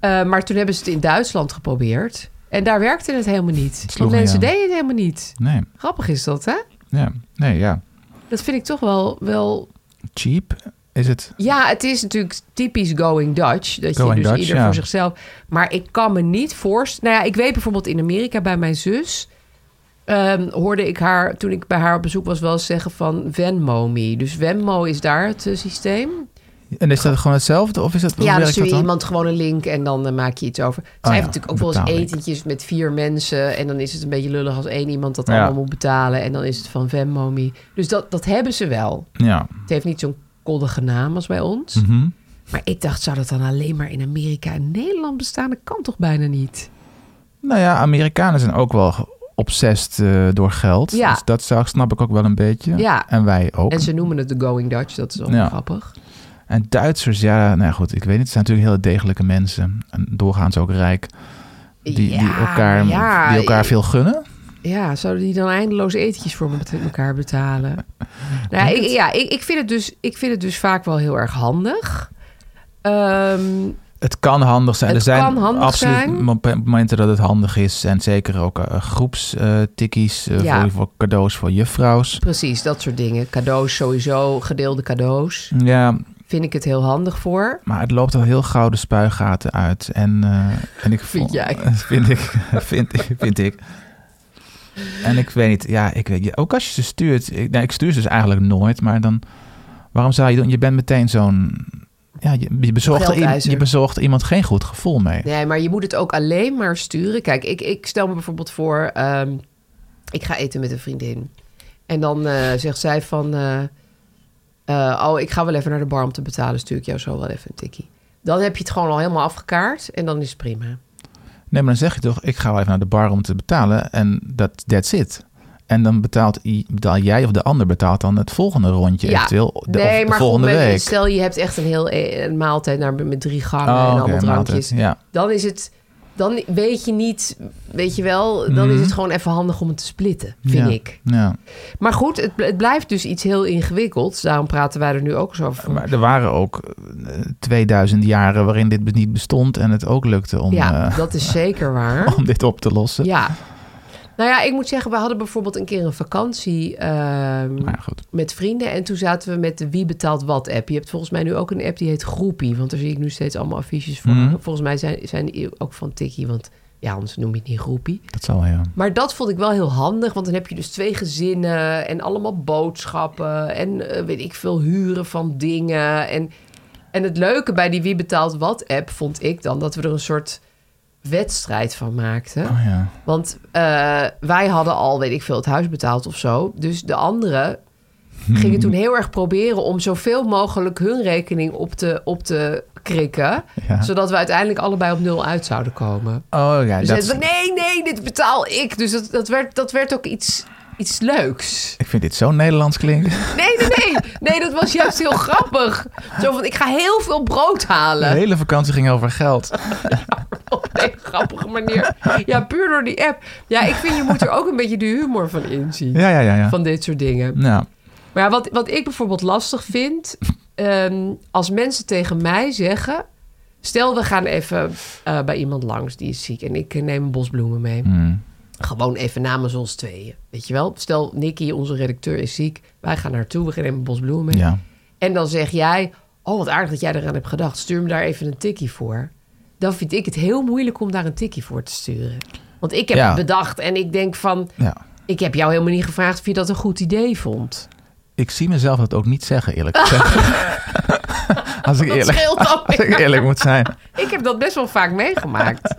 S3: Eh, maar toen hebben ze het in Duitsland geprobeerd. En daar werkte het helemaal niet.
S4: sloeg
S3: Want
S4: niet
S3: mensen
S4: aan.
S3: deden het helemaal niet.
S4: Nee,
S3: Grappig is dat, hè?
S4: ja. Nee, ja.
S3: Dat vind ik toch wel... wel...
S4: Cheap is het.
S3: Ja, het is natuurlijk typisch going Dutch. Dat
S4: Going
S3: je dus
S4: Dutch,
S3: ieder
S4: ja.
S3: voor zichzelf... Maar ik kan me niet voorstellen... Nou ja, ik weet bijvoorbeeld in Amerika bij mijn zus... Ehm, hoorde ik haar, toen ik bij haar op bezoek was, wel eens zeggen van Venmo me. Dus Venmo is daar het eh, systeem.
S4: En is dat gewoon hetzelfde? Of is dat, hoe
S3: ja, dan
S4: werkt
S3: stuur
S4: dat
S3: je
S4: dan? Oh
S3: iemand gewoon een link en dan eh, maak je iets over. Het zijn
S4: ja,
S3: natuurlijk ook wel eens
S4: betaling.
S3: etentjes met vier mensen. En dan is het een beetje lullig als één iemand dat
S4: Ja.
S3: allemaal moet betalen. En dan is het van Venmo me. Dus dat, dat hebben ze wel.
S4: Ja.
S3: Het heeft niet zo'n koddige naam als bij ons.
S4: Mhm.
S3: Maar ik dacht, zou dat dan alleen maar in Amerika en Nederland bestaan? Dat kan toch bijna niet?
S4: Nou ja, Amerikanen zijn ook wel ge- obsessed eh, door geld.
S3: Ja.
S4: Dus dat zou, snap ik ook wel een beetje.
S3: Ja.
S4: En wij ook.
S3: En ze noemen het de Going Dutch. Dat is wel
S4: Ja.
S3: grappig.
S4: En Duitsers, ja, nou ja, goed, ik weet niet. Het zijn natuurlijk hele degelijke mensen. En doorgaans ook rijk. Die, die
S3: Ja,
S4: elkaar,
S3: ja,
S4: die elkaar
S3: ik-
S4: veel gunnen?
S3: Ja, zouden die dan eindeloos etentjes voor me met elkaar betalen? nou, ik, ja, ik, ik, vind het dus, ik vind het dus vaak wel heel erg handig. Ehm,
S4: Het kan handig zijn.
S3: Het
S4: er zijn
S3: kan handig
S4: absoluut
S3: zijn.
S4: mom- eh, momenten dat het handig is. En zeker ook eh, groepstikkies eh,
S3: Ja.
S4: voor, voor cadeaus voor juffrouws.
S3: precies, dat soort dingen. Cadeaus sowieso, gedeelde cadeaus.
S4: Ja,
S3: Vind ik het heel handig voor.
S4: maar het loopt al heel gauw de spuigaten uit. En, eh, en ik
S3: Vind
S4: vo-
S3: jij?
S4: Vind ik, vind, ik- vind ik. En ik weet niet, ja, ik weet, ja, ook als je ze stuurt. Ik, nou, ik stuur ze dus eigenlijk nooit, maar dan. Waarom zou je doen? Je bent meteen zo'n. Ja, je, je, bezorgt er i-
S3: Geldeiser.
S4: je bezorgt iemand geen goed gevoel mee.
S3: Nee, maar je moet het ook alleen maar sturen. Kijk, ik, ik stel me bijvoorbeeld voor... ehm, ik ga eten met een vriendin. En dan eh, zegt zij van... eh, eh, oh, ik ga wel even naar de bar om te betalen. Stuur ik jou zo wel even een tikkie. Dan heb je het gewoon al helemaal afgekaart. En dan is het prima.
S4: Nee, maar dan zeg je toch, ik ga wel even naar de bar om te betalen en dat that's it. En dan betaalt, i- betaal jij of de ander betaalt dan het volgende rondje eventueel de, of de
S3: maar
S4: volgende
S3: goed, met-
S4: week.
S3: Stel, je hebt echt een heel e- een maaltijd naar, met drie gangen
S4: Oh,
S3: en
S4: oké,
S3: allemaal
S4: maaltijd,
S3: drankjes.
S4: ja.
S3: Dan is het... Dan weet je niet, weet je wel, dan is het gewoon even handig om het te splitten, vind
S4: Mhm. Ja,
S3: ik.
S4: Ja,
S3: Maar goed, het, bl- het blijft dus iets heel ingewikkelds. Daarom praten wij er nu ook zo over.
S4: maar er waren ook eh, 2000 jaren waarin dit be- niet bestond en het ook lukte om,
S3: ja,
S4: eh, Oh.
S3: dat is zeker waar.
S4: om dit op te lossen.
S3: Ja. Nou ja, ik moet zeggen, we hadden bijvoorbeeld een keer een vakantie ehm,
S4: Maar goed,
S3: met vrienden. En toen zaten we met de Wie betaalt wat app. Je hebt volgens mij nu ook een app die heet Groepie. Want daar zie ik nu steeds allemaal affiches van.
S4: Mhm.
S3: Volgens mij zijn, zijn die ook van Tikkie. Want ja, anders noem je het niet Groepie.
S4: dat zal wel, ja.
S3: Maar dat vond ik wel heel handig, want dan heb je dus twee gezinnen en allemaal boodschappen en eh, weet ik veel huren van dingen. En, en het leuke bij die Wie betaalt wat app vond ik dan dat we er een soort wedstrijd van maakten.
S4: Oh ja.
S3: Want eh, wij hadden al, weet ik veel, het huis betaald of zo. Dus de anderen gingen toen heel erg proberen om zoveel mogelijk hun rekening op te, op te krikken.
S4: Ja.
S3: Zodat we uiteindelijk allebei op nul uit zouden komen.
S4: Oh ja,
S3: Dus
S4: dat
S3: hij
S4: is-
S3: zei, nee, nee, dit betaal ik. Dus dat, dat, werd, dat werd ook iets, iets leuks.
S4: ik vind dit zo Nederlands klinken.
S3: Nee, nee, nee. Nee, dat was juist heel grappig. Zo van, ik ga heel veel brood
S4: De
S3: halen.
S4: hele vakantie ging over geld.
S3: Op een grappige manier. Ja, puur door die app. Ja, ik vind, je moet er ook een beetje de humor van inzien.
S4: Ja, ja, ja. ja.
S3: Van dit soort dingen.
S4: Nou,
S3: Maar ja, wat, wat ik bijvoorbeeld lastig vind... ehm, als mensen tegen mij zeggen... Stel, we gaan even eh, bij iemand langs die is ziek... en ik eh, neem een bos bloemen mee.
S4: Hmm.
S3: Gewoon even namens ons tweeën. Weet je wel? Stel, Nicky, onze redacteur, is ziek. Wij gaan naartoe, we gaan even een bos bloemen mee.
S4: ja.
S3: En dan zeg jij... Oh, wat aardig dat jij eraan hebt gedacht. Stuur me daar even een tikkie voor. Dan vind ik het heel moeilijk om daar een tikkie voor te sturen. Want ik heb
S4: Ja.
S3: het bedacht en ik denk van...
S4: ja.
S3: Ik heb jou helemaal niet gevraagd of je dat een goed idee vond.
S4: Ik zie mezelf dat ook niet zeggen, eerlijk gezegd. als, ik
S3: Dat
S4: eerlijk,
S3: scheelt al.
S4: als ik eerlijk moet zijn.
S3: Ik heb dat best wel vaak meegemaakt.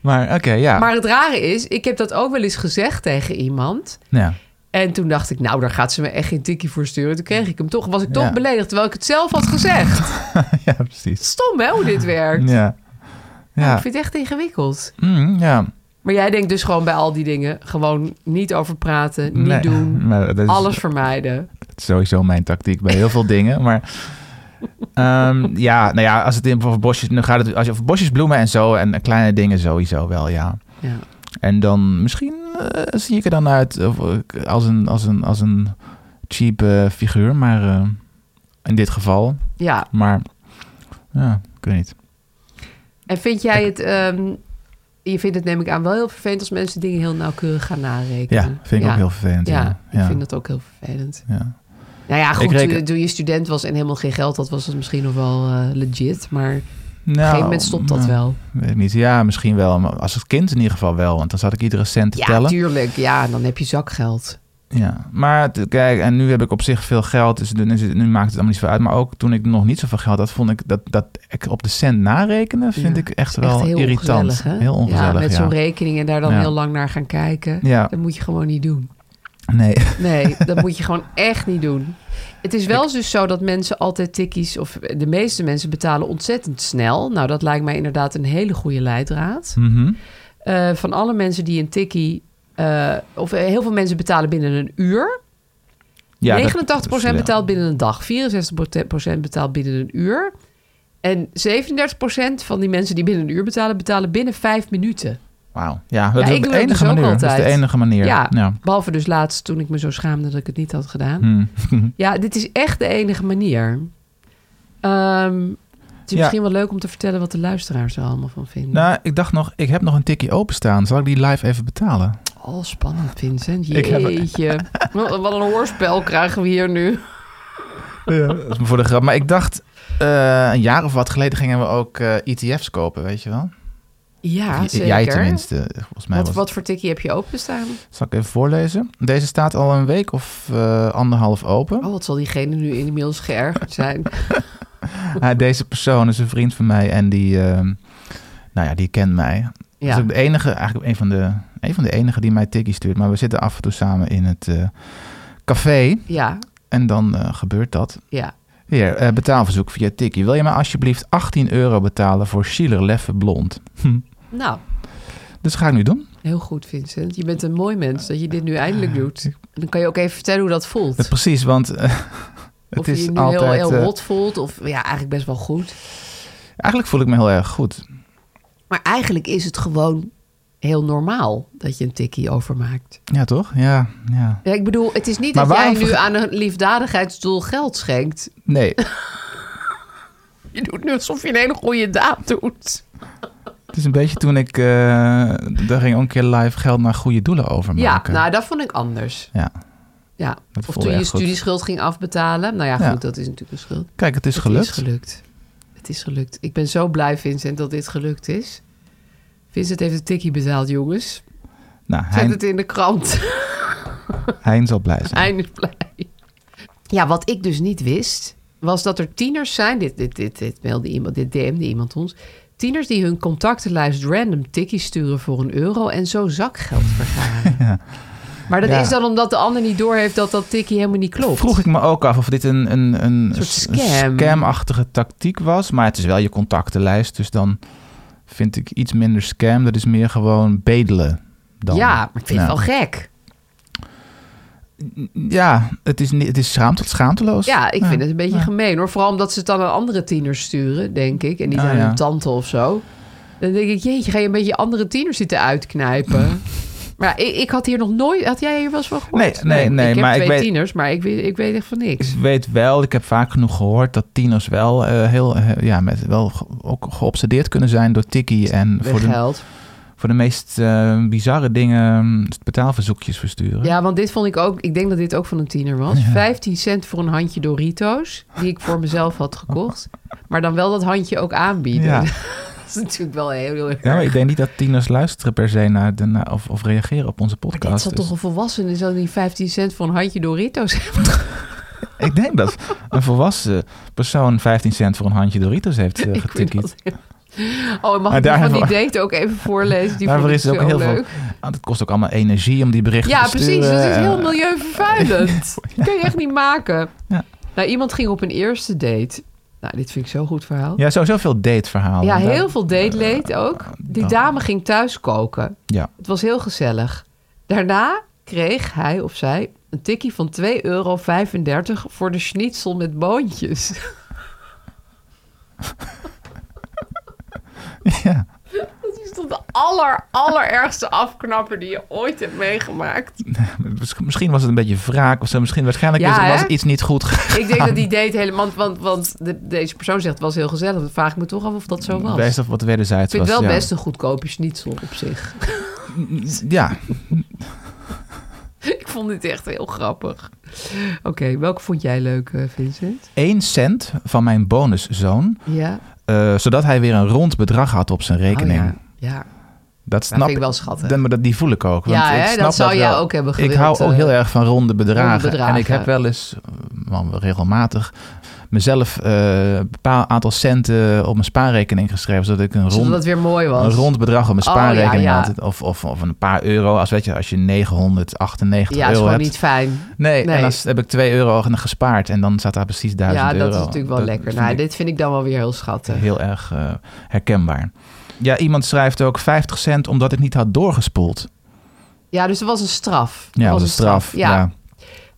S4: Maar oké, ja.
S3: Maar het rare is, ik heb dat ook wel eens gezegd tegen iemand.
S4: ja.
S3: En toen dacht ik, nou, daar gaat ze me echt geen tikkie voor sturen. Toen kreeg ik hem toch, was ik toch
S4: Ja.
S3: beledigd, terwijl ik het zelf had gezegd.
S4: ja, precies.
S3: Stom, hè, hoe dit werkt.
S4: Ja.
S3: Ja,
S4: Ja.
S3: Nou, Ik vind het echt ingewikkeld.
S4: Mm, ja.
S3: Maar jij denkt dus gewoon bij al die dingen, gewoon niet over praten, niet
S4: Nee, Mm, dus-
S3: doen,
S4: maar dat is
S3: alles vermijden.
S4: sowieso mijn tactiek bij heel veel dingen. Maar ehm, ja, nou ja, als het in voor bosjes, dan gaat het als je over bosjes, bloemen en zo en kleine dingen sowieso wel, ja.
S3: Ja.
S4: En dan misschien eh, zie ik er dan uit of, eh, als een, als een, als een cheap eh, figuur, maar eh, in dit geval.
S3: ja.
S4: Maar ja, ik weet niet.
S3: En vind jij het, ehm, je vindt het neem ik aan wel heel vervelend als mensen dingen heel nauwkeurig gaan
S4: Ja,
S3: narekenen.
S4: vind ik ook heel vervelend. Ja,
S3: Ja,
S4: ja.
S3: ik vind dat ook heel vervelend.
S4: Ja.
S3: Nou ja, goed,
S4: Ik reken-
S3: toen- toen je student was en helemaal geen geld had, was het misschien nog wel eh, legit. Maar op een
S4: Nou,
S3: gegeven moment stopt dat
S4: nou,
S3: wel.
S4: Weet ik niet. Ja, misschien wel. Maar als het kind in ieder geval wel. Want dan zat ik iedere cent te
S3: Ja,
S4: tellen.
S3: tuurlijk. Ja, dan heb je zakgeld.
S4: Ja, maar t- kijk, en nu heb ik op zich veel geld, dus nu, nu maakt het allemaal niet zo uit. Maar ook toen ik nog niet zoveel geld had, vond ik dat, dat ik op de cent narekenen, vind
S3: Ja,
S4: ik echt
S3: Het is
S4: wel irritant.
S3: ongezellig, hè?
S4: Heel ongezellig,
S3: Ja,
S4: ja.
S3: met zo'n rekening en daar dan
S4: Ja.
S3: heel lang naar gaan kijken.
S4: Ja.
S3: Dat moet je gewoon niet doen.
S4: Nee,
S3: Nee, dat moet je gewoon echt niet doen. Het is wel dus zo dat mensen altijd tikkies, of de meeste mensen betalen ontzettend snel. Nou, dat lijkt mij inderdaad een hele goede leidraad.
S4: Mhm.
S3: Eh, van alle mensen die een tikkie, eh, of eh, heel veel mensen betalen binnen een uur.
S4: ja, dat-
S3: 89%
S4: dat- dus,
S3: betaalt binnen een dag. 64% betaalt binnen een uur. En 37% van die mensen die binnen een uur betalen, betalen binnen vijf minuten.
S4: Wauw. Ja,
S3: Ja,
S4: dat is
S3: ik doe
S4: de
S3: dat
S4: enige
S3: dus ook
S4: manier. Dat is de
S3: altijd.
S4: enige manier.
S3: Ja,
S4: ja.
S3: behalve dus laatst toen ik me zo schaamde dat ik het niet had gedaan.
S4: Hmm.
S3: Ja, dit is echt de enige manier. Ehm, het is
S4: Ja.
S3: misschien wel leuk om te vertellen wat de luisteraars er allemaal van vinden.
S4: Nou, ik dacht nog, ik heb nog een tikkie openstaan. Zal ik die live even betalen?
S3: Oh, spannend, Vincent.
S4: Ik heb-
S3: Jeetje. Wat wat een hoorspel krijgen we hier nu.
S4: Dat is maar voor de grap. Maar ik dacht, eh, een jaar of wat geleden gingen we ook eh, ETF's kopen, weet je wel?
S3: Ja,
S4: Of j-
S3: zeker.
S4: Jij tenminste, volgens mij.
S3: Wat,
S4: was-
S3: wat voor tikkie heb je openstaan?
S4: Zal ik even voorlezen? Deze staat al een week of eh, anderhalf open.
S3: Oh, wat zal diegene nu inmiddels geërgerd zijn?
S4: Ah, deze persoon is een vriend van mij en die, ehm, nou ja, die kent mij. Dat is
S3: Ja.
S4: ook de enige, eigenlijk een van de, een van de enige die mij tikkie stuurt. Maar we zitten af en toe samen in het eh, café
S3: Ja,
S4: en dan eh, gebeurt dat.
S3: ja.
S4: Hier, eh, betaalverzoek via tikkie. Wil je mij alsjeblieft 18 euro betalen voor Schiller Leffe Blond? Hm.
S3: Nou,
S4: Dus ga ik nu doen.
S3: heel goed, Vincent. Je bent een mooi mens dat je dit nu eindelijk doet. En dan kan je ook even vertellen hoe dat voelt.
S4: Eh, precies, want eh, het
S3: of je
S4: is
S3: je nu heel,
S4: altijd...
S3: heel
S4: eh,
S3: rot voelt, of ja, eigenlijk best wel goed.
S4: eigenlijk voel ik me heel erg goed.
S3: Maar eigenlijk is het gewoon heel normaal dat je een tikkie overmaakt.
S4: Ja, toch? Ja, ja.
S3: Ja, ik bedoel, het is niet
S4: Maar
S3: dat jij
S4: waarom
S3: nu
S4: verge-
S3: aan een liefdadigheidsdoel geld schenkt.
S4: Nee,
S3: Je doet nu alsof je een hele goede daad doet.
S4: Het is een beetje toen ik... eh, daar ging ook een keer live geld naar goede doelen overmaken.
S3: Ja, nou, dat vond ik anders.
S4: Ja.
S3: Ja.
S4: Dat
S3: Of
S4: voelde
S3: toen je
S4: echt goed.
S3: studieschuld ging afbetalen. Nou ja, goed,
S4: Ja.
S3: dat is natuurlijk een schuld.
S4: Kijk, het is
S3: Het
S4: gelukt.
S3: is gelukt. Het is gelukt. Ik ben zo blij, Vincent, dat dit gelukt is. Vincent heeft een tikkie betaald, jongens.
S4: Nou,
S3: Zet
S4: Hein,
S3: het in de krant.
S4: Hein zal blij zijn.
S3: Eindelijk blij. Ja, wat ik dus niet wist, was dat er tieners zijn. Dit, dit, dit, dit mailde iemand, dit DM'de iemand ons. Tieners die hun contactenlijst random tikkies sturen voor een euro en zo zakgeld vergaren. Maar dat
S4: Ja.
S3: is dan omdat de ander niet doorheeft dat dat tikkie helemaal niet klopt.
S4: Vroeg ik me ook af of dit een, een, een,
S3: soort
S4: s- een
S3: scam.
S4: scamachtige tactiek was. Maar het is wel je contactenlijst. Dus dan vind ik iets minder scam. Dat is meer gewoon bedelen. Dan. Nou.
S3: ja, maar ik vind
S4: Ja.
S3: het wel gek.
S4: Ja, het is, niet, het is schaamte, schaamteloos.
S3: Ja, ik vind het een beetje
S4: Ja.
S3: gemeen hoor. Vooral omdat ze het dan aan andere tieners sturen, denk ik. En niet
S4: Ah,
S3: aan
S4: ja.
S3: hun tante of zo. Dan denk ik, jeetje, ga je een beetje andere tieners zitten uitknijpen? maar ja, ik, ik had hier nog nooit... Had jij hier wel eens van gehoord?
S4: Nee, nee, nee,
S3: Ik heb
S4: maar ik
S3: twee
S4: weet-
S3: tieners, maar ik weet, ik weet echt van niks.
S4: Ik weet wel, ik heb vaak genoeg gehoord dat tieners wel eh, heel, eh, ja, met, wel ge- ook geobsedeerd kunnen zijn door Tikkie. En
S3: Met
S4: voor de,
S3: geld.
S4: voor de meest eh, bizarre dingen mm, betaalverzoekjes versturen.
S3: Ja, want dit vond ik ook... Ik denk dat dit ook van een tiener was. 15 cent voor een handje Doritos. Die ik voor mezelf had gekocht. Maar dan wel dat handje ook aanbieden.
S4: Ja.
S3: dat is natuurlijk wel heel, heel erg.
S4: Ja, maar Nou, ik denk niet dat tieners luisteren per se naar, de, naar- of, of reageren op onze
S3: Maar dit
S4: podcast.
S3: zal
S4: dus-
S3: toch een volwassene zijn die 15 cent voor een handje Doritos
S4: Ik denk dat een volwassen persoon 15 cent voor een handje Doritos heeft eh,
S3: Ik vind
S4: getikkiet.
S3: dat- Oh, en mag
S4: Maar
S3: ik die van die
S4: daarvoor-
S3: date ook even voorlezen? Die
S4: Daarvoor
S3: vond ik
S4: is het
S3: zo
S4: ook heel
S3: leuk.
S4: veel. Ah, dat kost ook allemaal energie om die berichten
S3: Ja,
S4: te sturen.
S3: precies. Dat is
S4: eh,
S3: heel milieuvervuilend. Dat kun je echt niet maken.
S4: Ja.
S3: Nou, iemand ging op een eerste date. Nou, dit vind ik zo'n goed verhaal.
S4: Ja, sowieso veel dateverhalen.
S3: Ja,
S4: Daar-
S3: heel veel dateleed ook. Die
S4: dat-
S3: dame ging thuis koken.
S4: Ja.
S3: Het was heel gezellig. Daarna kreeg hij of zij een tikkie van 2,35 euro voor de schnitzel met boontjes.
S4: Ja.
S3: Dat is toch de aller, allerergste afknapper die je ooit hebt meegemaakt.
S4: Miss- Misschien was het een beetje wraak of zo. Misschien waarschijnlijk
S3: Ja,
S4: is-
S3: hè?
S4: was iets niet goed gegaan.
S3: Ik denk dat die date helemaal... Want, want de- deze persoon zegt, het was heel gezellig. Dan vraag ik me toch af of dat zo was.
S4: Best of wat
S3: ik
S4: wederzijds
S3: vind
S4: was.
S3: het wel
S4: ja.
S3: best een goedkope schnitzel op zich.
S4: Ja,
S3: ik vond dit echt heel grappig. Oké, welke vond jij leuk, eh, Vincent?
S4: 1 cent van mijn bonuszoon.
S3: Ja.
S4: eh, zodat hij weer een rond bedrag had op zijn rekening.
S3: Oh, ja. ja.
S4: Dat snap
S3: vind ik wel schattig.
S4: Dat, maar dat, die voel ik ook. Want
S3: eh, Ja,
S4: ik
S3: hè,
S4: snap
S3: dat zou jij
S4: wel.
S3: ook hebben
S4: Ik
S3: gewild,
S4: hou ook
S3: eh,
S4: heel erg van ronde bedragen.
S3: ronde bedragen.
S4: En ik heb wel eens, eh, wel regelmatig, mezelf eh, een bepaald aantal centen op mijn spaarrekening geschreven. Zodat ik een
S3: Zodat
S4: rond,
S3: het weer mooi was.
S4: een rond bedrag op mijn
S3: Oh,
S4: spaarrekening
S3: ja, ja.
S4: had. Of, of, of een paar euro. Als, weet je, als je 998
S3: Ja, is
S4: euro
S3: gewoon
S4: hebt.
S3: niet fijn.
S4: Nee,
S3: Nee.
S4: en dan heb ik 2 euro gespaard. En dan zat daar precies 1000
S3: Ja,
S4: euro.
S3: dat is natuurlijk wel
S4: Dat
S3: lekker.
S4: vind
S3: Nou,
S4: ik-
S3: dit vind ik dan wel weer heel schattig.
S4: heel erg eh, herkenbaar. Ja, iemand schrijft ook 50 cent omdat ik niet had doorgespoeld.
S3: Ja, dus er was een straf.
S4: Ja,
S3: Er
S4: dat was een straf. Ja.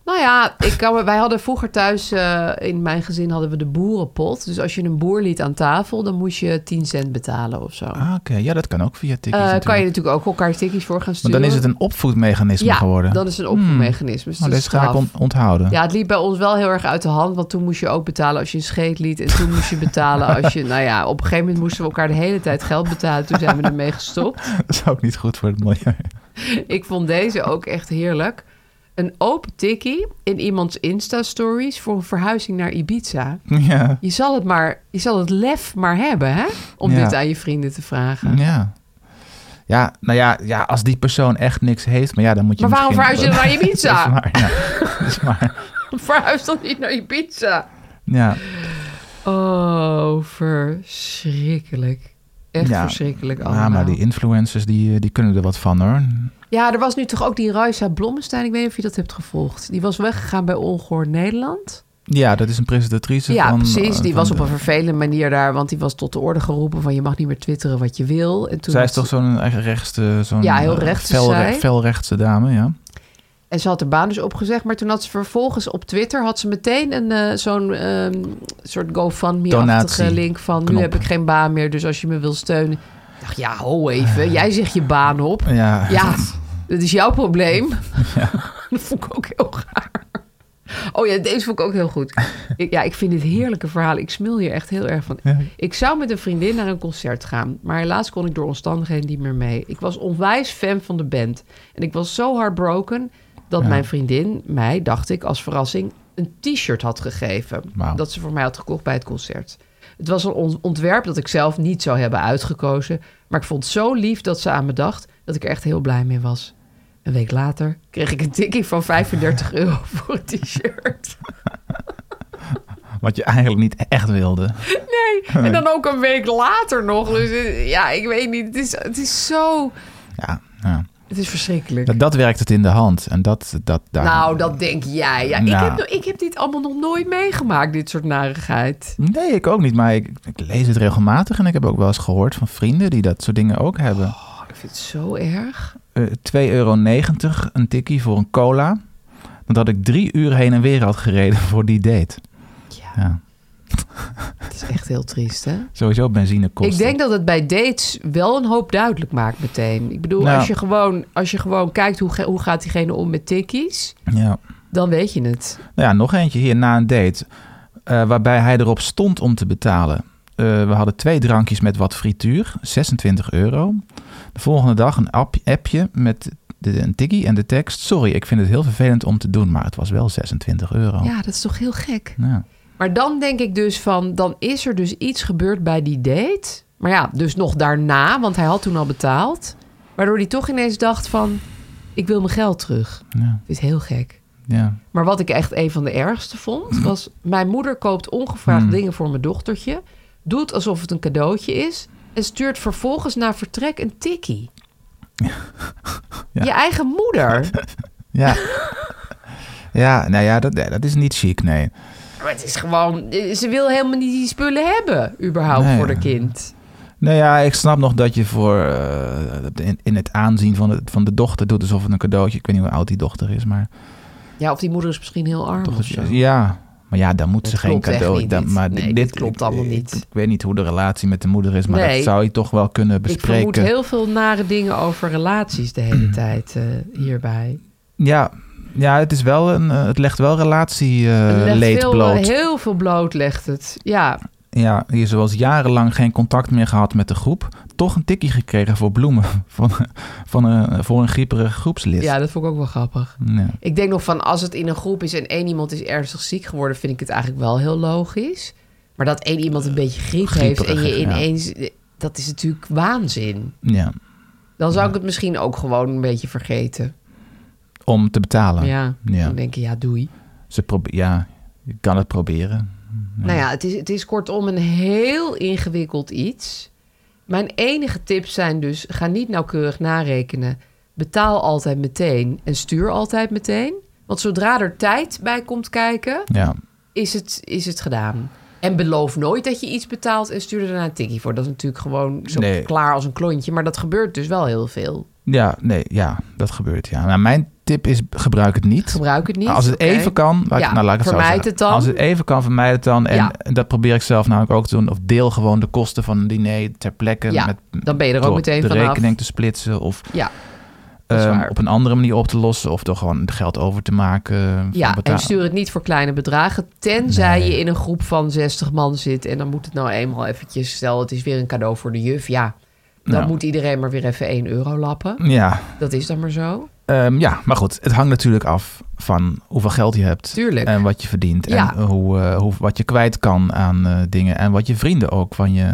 S3: Nou ja, ik kan, me- wij hadden vroeger thuis, eh, in mijn gezin hadden we de boerenpot. Dus als je een boer liet aan tafel, dan moest je 10 cent betalen of zo.
S4: Ah, oké. Ja, dat kan ook via tikkies
S3: Eh,
S4: natuurlijk.
S3: kan je natuurlijk ook elkaar tikkies voor gaan
S4: Want
S3: sturen.
S4: dan is het een opvoedmechanisme
S3: ja,
S4: geworden.
S3: dan is het een opvoedmechanisme. Dus
S4: Oh,
S3: dat is
S4: deze ga ik
S3: straf.
S4: on- onthouden.
S3: Ja, het liep bij ons wel heel erg uit de hand. Want toen moest je ook betalen als je een scheet liet. En toen moest je betalen als je... Nou ja, op een gegeven moment moesten we elkaar de hele tijd geld betalen. Toen zijn we ermee gestopt.
S4: Dat is ook niet goed voor het milieu.
S3: Ik vond deze ook echt heerlijk. Een open tikkie in iemands Insta-stories voor een verhuizing naar Ibiza.
S4: ja.
S3: Je zal het, maar, je zal het lef maar hebben, hè? Om
S4: Ja.
S3: dit aan je vrienden te vragen.
S4: ja. Ja, nou ja, ja, als die persoon echt niks heeft, maar ja, dan moet je
S3: Maar waarom
S4: misschien-
S3: verhuis je dan naar Ibiza?
S4: dat is waar, ja. Dat is waar.
S3: Verhuis dan niet naar Ibiza.
S4: Ja.
S3: Oh, verschrikkelijk. Echt
S4: Ja.
S3: verschrikkelijk allemaal.
S4: ja, maar die influencers, die, eh, die kunnen er wat van hoor.
S3: Ja, er was nu toch ook die Ruisa Blommestein. Ik weet niet of je dat hebt gevolgd. Die was weggegaan bij Ongehoord Nederland.
S4: Ja, dat is een presentatrice
S3: ja,
S4: van...
S3: precies.
S4: eh,
S3: Die
S4: van
S3: was op
S4: de-
S3: een vervelende manier daar. Want die was tot de orde geroepen van... je mag niet meer twitteren wat je wil. En toen
S4: Zij
S3: had
S4: is toch
S3: ze-
S4: zo'n echt rechtse... Zo'n,
S3: Ja, heel
S4: eh,
S3: rechts is
S4: felre-
S3: zij.
S4: felrechtse dame, ja.
S3: En ze had de baan dus opgezegd. Maar toen had ze vervolgens op Twitter... had ze meteen een eh, zo'n ehm, soort GoFundMe-achtige
S4: Donatie.
S3: link van... nu
S4: Knop.
S3: heb ik geen baan meer, dus als je me wil steunen... Ik dacht, ja, ho
S4: Eh.
S3: even. Jij zegt je baan op.
S4: Ja,
S3: Ja, dat is jouw probleem. dat vond ik ook heel raar. Oh ja, deze vond ik ook heel goed. Ik, ja, ik vind dit heerlijke verhaal. Ik smil hier echt heel erg van.
S4: Ja.
S3: Ik zou met een vriendin naar een concert gaan. Maar helaas kon ik door omstandigheden niet meer mee. Ik was onwijs fan van de band. En ik was zo heartbroken dat mijn vriendin mij, dacht ik, als verrassing... een t-shirt had gegeven.
S4: Wauw.
S3: Dat ze voor mij had gekocht bij het concert. Het was een on- ontwerp dat ik zelf niet zou hebben uitgekozen. Maar ik vond het zo lief dat ze aan me dacht... dat ik er echt heel blij mee was. Een week later kreeg ik een tikkie van 35 euro voor een t-shirt.
S4: Wat je eigenlijk niet echt wilde.
S3: Nee, en dan ook een week later nog. Dus eh, ja, ik weet niet. Het is, het is zo...
S4: Ja, ja.
S3: Het is verschrikkelijk.
S4: Dat, dat werkt het in de hand. En dat, dat daar...
S3: nou, dat denk jij. Ja, ik,
S4: Nou.
S3: heb, nog- ik heb dit allemaal nog nooit meegemaakt, dit soort narigheid.
S4: Nee, ik ook niet. Maar ik, ik lees het regelmatig. En ik heb ook wel eens gehoord van vrienden die dat soort dingen ook hebben.
S3: Oh, ik vind het zo erg.
S4: Eh 2,90 euro een tikkie voor een cola. Dat ik drie uur heen en weer had gereden voor die date.
S3: Ja,
S4: Ja,
S3: het is echt heel triest, hè?
S4: sowieso benzine kost.
S3: Ik denk dat het bij dates wel een hoop duidelijk maakt meteen. Ik bedoel,
S4: Nou.
S3: als, je gewoon, als je gewoon kijkt hoe, ge- hoe gaat diegene om met tikkies,
S4: Ja.
S3: dan weet je het.
S4: Nou ja, nog eentje hier na een date. eh, waarbij hij erop stond om te betalen. Eh, we hadden twee drankjes met wat frituur, 26 euro. De volgende dag een app- appje met de, een tikkie en de tekst. Sorry, ik vind het heel vervelend om te doen, maar het was wel 26 euro.
S3: Ja, dat is toch heel gek.
S4: Ja.
S3: Maar dan denk ik dus van, dan is er dus iets gebeurd bij die date. Maar ja, dus nog daarna, want hij had toen al betaald. Waardoor hij toch ineens dacht van, ik wil mijn geld terug.
S4: Ja.
S3: Dat is heel gek.
S4: ja.
S3: Maar wat ik echt een van de ergste
S4: Mhm.
S3: vond, was... mijn moeder koopt ongevraagd dingen voor mijn dochtertje... doet alsof het een cadeautje is... en stuurt vervolgens na vertrek een tikkie.
S4: Ja.
S3: Je eigen moeder.
S4: Ja. ja, nou ja, dat, ja, dat is niet chic, nee.
S3: Maar het is gewoon... Ze wil helemaal niet die spullen hebben, überhaupt,
S4: Nee.
S3: voor haar kind.
S4: Nou ja, ik snap nog dat je voor eh, in, in het aanzien van de, van de dochter doet alsof het een cadeautje. Ik weet niet hoe oud die dochter is, maar
S3: Ja, of die moeder is misschien heel arm
S4: toch
S3: of
S4: dat
S3: zo.
S4: je- ja. Maar ja, dan moet
S3: Dat
S4: ze geen
S3: klopt echt
S4: cadeau.
S3: niet,
S4: dan-
S3: dit.
S4: maar
S3: Nee,
S4: dit,
S3: dit klopt
S4: ik-
S3: allemaal
S4: ik-
S3: niet.
S4: Ik, weet niet hoe de relatie met de moeder is, maar
S3: Nee.
S4: dat zou je toch wel kunnen
S3: Ik vermoed
S4: bespreken.
S3: heel veel nare dingen over relaties de
S4: Mm.
S3: hele tijd eh, hierbij.
S4: Ja, ja, het is wel een, eh, het legt wel
S3: Het legt
S4: relatieleed
S3: veel,
S4: Eh,
S3: eh,
S4: bloot.
S3: Heel veel bloot legt het. Ja,
S4: Ja, hier zoals jarenlang geen contact meer gehad met de groep. Toch een tikkie gekregen voor bloemen van, van een, voor een grieperig groepslid.
S3: ja, dat vond ik ook wel grappig.
S4: Ja.
S3: Ik denk nog van als het in een groep is en één iemand is ernstig ziek geworden, vind ik het eigenlijk wel heel logisch. Maar dat één iemand een beetje griep heeft en je
S4: grieperig, ja.
S3: ineens. Dat is natuurlijk waanzin.
S4: Ja,
S3: Dan zou ik het misschien ook gewoon een beetje vergeten.
S4: om te betalen.
S3: Ja,
S4: Ja.
S3: dan denk je, ja, doei.
S4: Ze probe- ja, je kan het proberen.
S3: Nou ja, het is, het is kortom een heel ingewikkeld iets. Mijn enige tips zijn dus: ga niet nauwkeurig narekenen. Betaal altijd meteen en stuur altijd meteen. Want zodra er tijd bij komt kijken,
S4: Ja,
S3: is het, is het gedaan. En beloof nooit dat je iets betaalt en stuur er daarna een tikkie voor. Dat is natuurlijk gewoon zo
S4: Nee.
S3: klaar als een klontje. Maar dat gebeurt dus wel heel veel.
S4: Ja, nee, ja, dat gebeurt. Ja. Nou, mijn tip is gebruik het niet.
S3: Gebruik het niet.
S4: Als het
S3: oké.
S4: even kan, laat, ik-
S3: Ja,
S4: nou, laat ik het zo
S3: vermijd
S4: zeggen.
S3: het dan.
S4: Als het even kan, vermijd het dan. En
S3: Ja.
S4: dat probeer ik zelf namelijk ook te doen. Of deel gewoon de kosten van een diner ter plekke.
S3: Ja,
S4: met,
S3: dan ben je er ook
S4: door
S3: meteen
S4: de
S3: vanaf.
S4: rekening te splitsen. Of
S3: Ja, dat is
S4: ehm,
S3: waar.
S4: op een andere manier op te lossen. Of door gewoon het geld over te maken. van
S3: ja en
S4: betaal-
S3: stuur het niet voor kleine bedragen. Tenzij
S4: Nee.
S3: je in een groep van 60 man zit. En dan moet het nou eenmaal eventjes... Stel, het is weer een cadeau voor de juf. Ja, dan
S4: Nou.
S3: moet iedereen maar weer even 1 euro lappen.
S4: Ja,
S3: Dat is dan maar zo.
S4: Ehm, ja, maar goed, het hangt natuurlijk af van hoeveel geld je hebt.
S3: Tuurlijk.
S4: En wat je verdient.
S3: Ja.
S4: En hoe, eh, hoe, wat je kwijt kan aan eh, dingen. En wat je vrienden ook van je,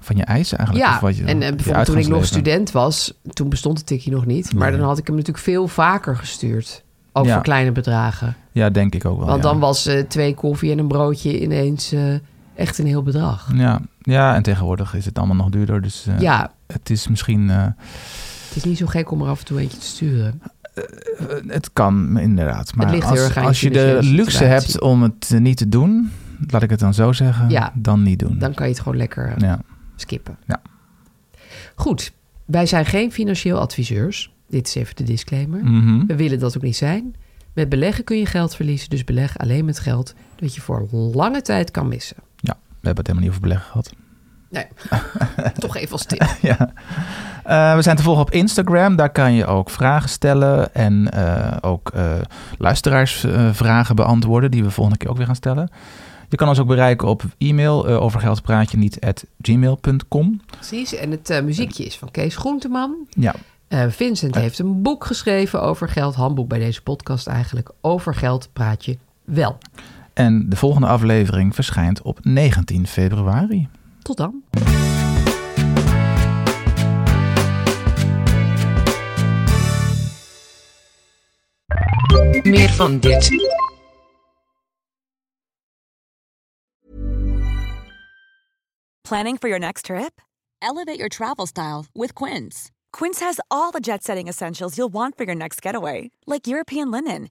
S4: van je eisen eigenlijk.
S3: Ja,
S4: of Ah, wat je,
S3: en eh,
S4: je
S3: bijvoorbeeld toen ik nog
S4: uitgaansleven.
S3: student was... Toen bestond het tikkie nog niet. Maar dan had ik hem natuurlijk veel vaker gestuurd. Ook
S4: Ja.
S3: voor kleine bedragen.
S4: Ja, denk ik ook wel.
S3: Want
S4: ja.
S3: dan was eh, twee koffie en een broodje ineens eh, echt een heel bedrag.
S4: Ja. ja, en tegenwoordig is het allemaal nog duurder. Dus eh,
S3: Ja,
S4: het is misschien... eh,
S3: het is niet zo gek om er af en toe eentje te sturen.
S4: het kan, inderdaad. Maar
S3: ligt
S4: als,
S3: heel erg aan je
S4: als je de
S3: financiële
S4: luxe
S3: situatie.
S4: hebt om het eh, niet te doen... Laat ik het dan zo zeggen.
S3: Ja.
S4: Dan niet doen.
S3: Dan kan je het gewoon lekker eh,
S4: Ja.
S3: skippen.
S4: Ja.
S3: Goed, wij zijn geen financieel adviseurs. Dit is even de disclaimer.
S4: Mhm.
S3: We willen dat ook niet zijn. Met beleggen kun je geld verliezen, dus beleg alleen met geld dat je voor lange tijd kan missen.
S4: ja, we hebben het helemaal niet over beleggen gehad.
S3: Nee, toch even als tip.
S4: ja. Eh, we zijn te volgen op Instagram. Daar kan je ook vragen stellen en eh, ook luisteraarsvragen beantwoorden die we volgende keer ook weer gaan stellen. Je kan ons ook bereiken op e-mail eh, overgeldpraatje niet at gmail.com.
S3: Precies, en het eh, muziekje is van Kees Groenteman.
S4: Ja,
S3: Eh, Vincent heeft een boek geschreven over geld. Handboek bij deze podcast eigenlijk. Over geld praat je wel.
S4: en de volgende aflevering verschijnt op 19 februari.
S3: Tot dan. Meer van dit.
S5: Planning for your next trip? Elevate your travel style with Quince. Quince has all the jet setting essentials you'll want for your next getaway, like European linen,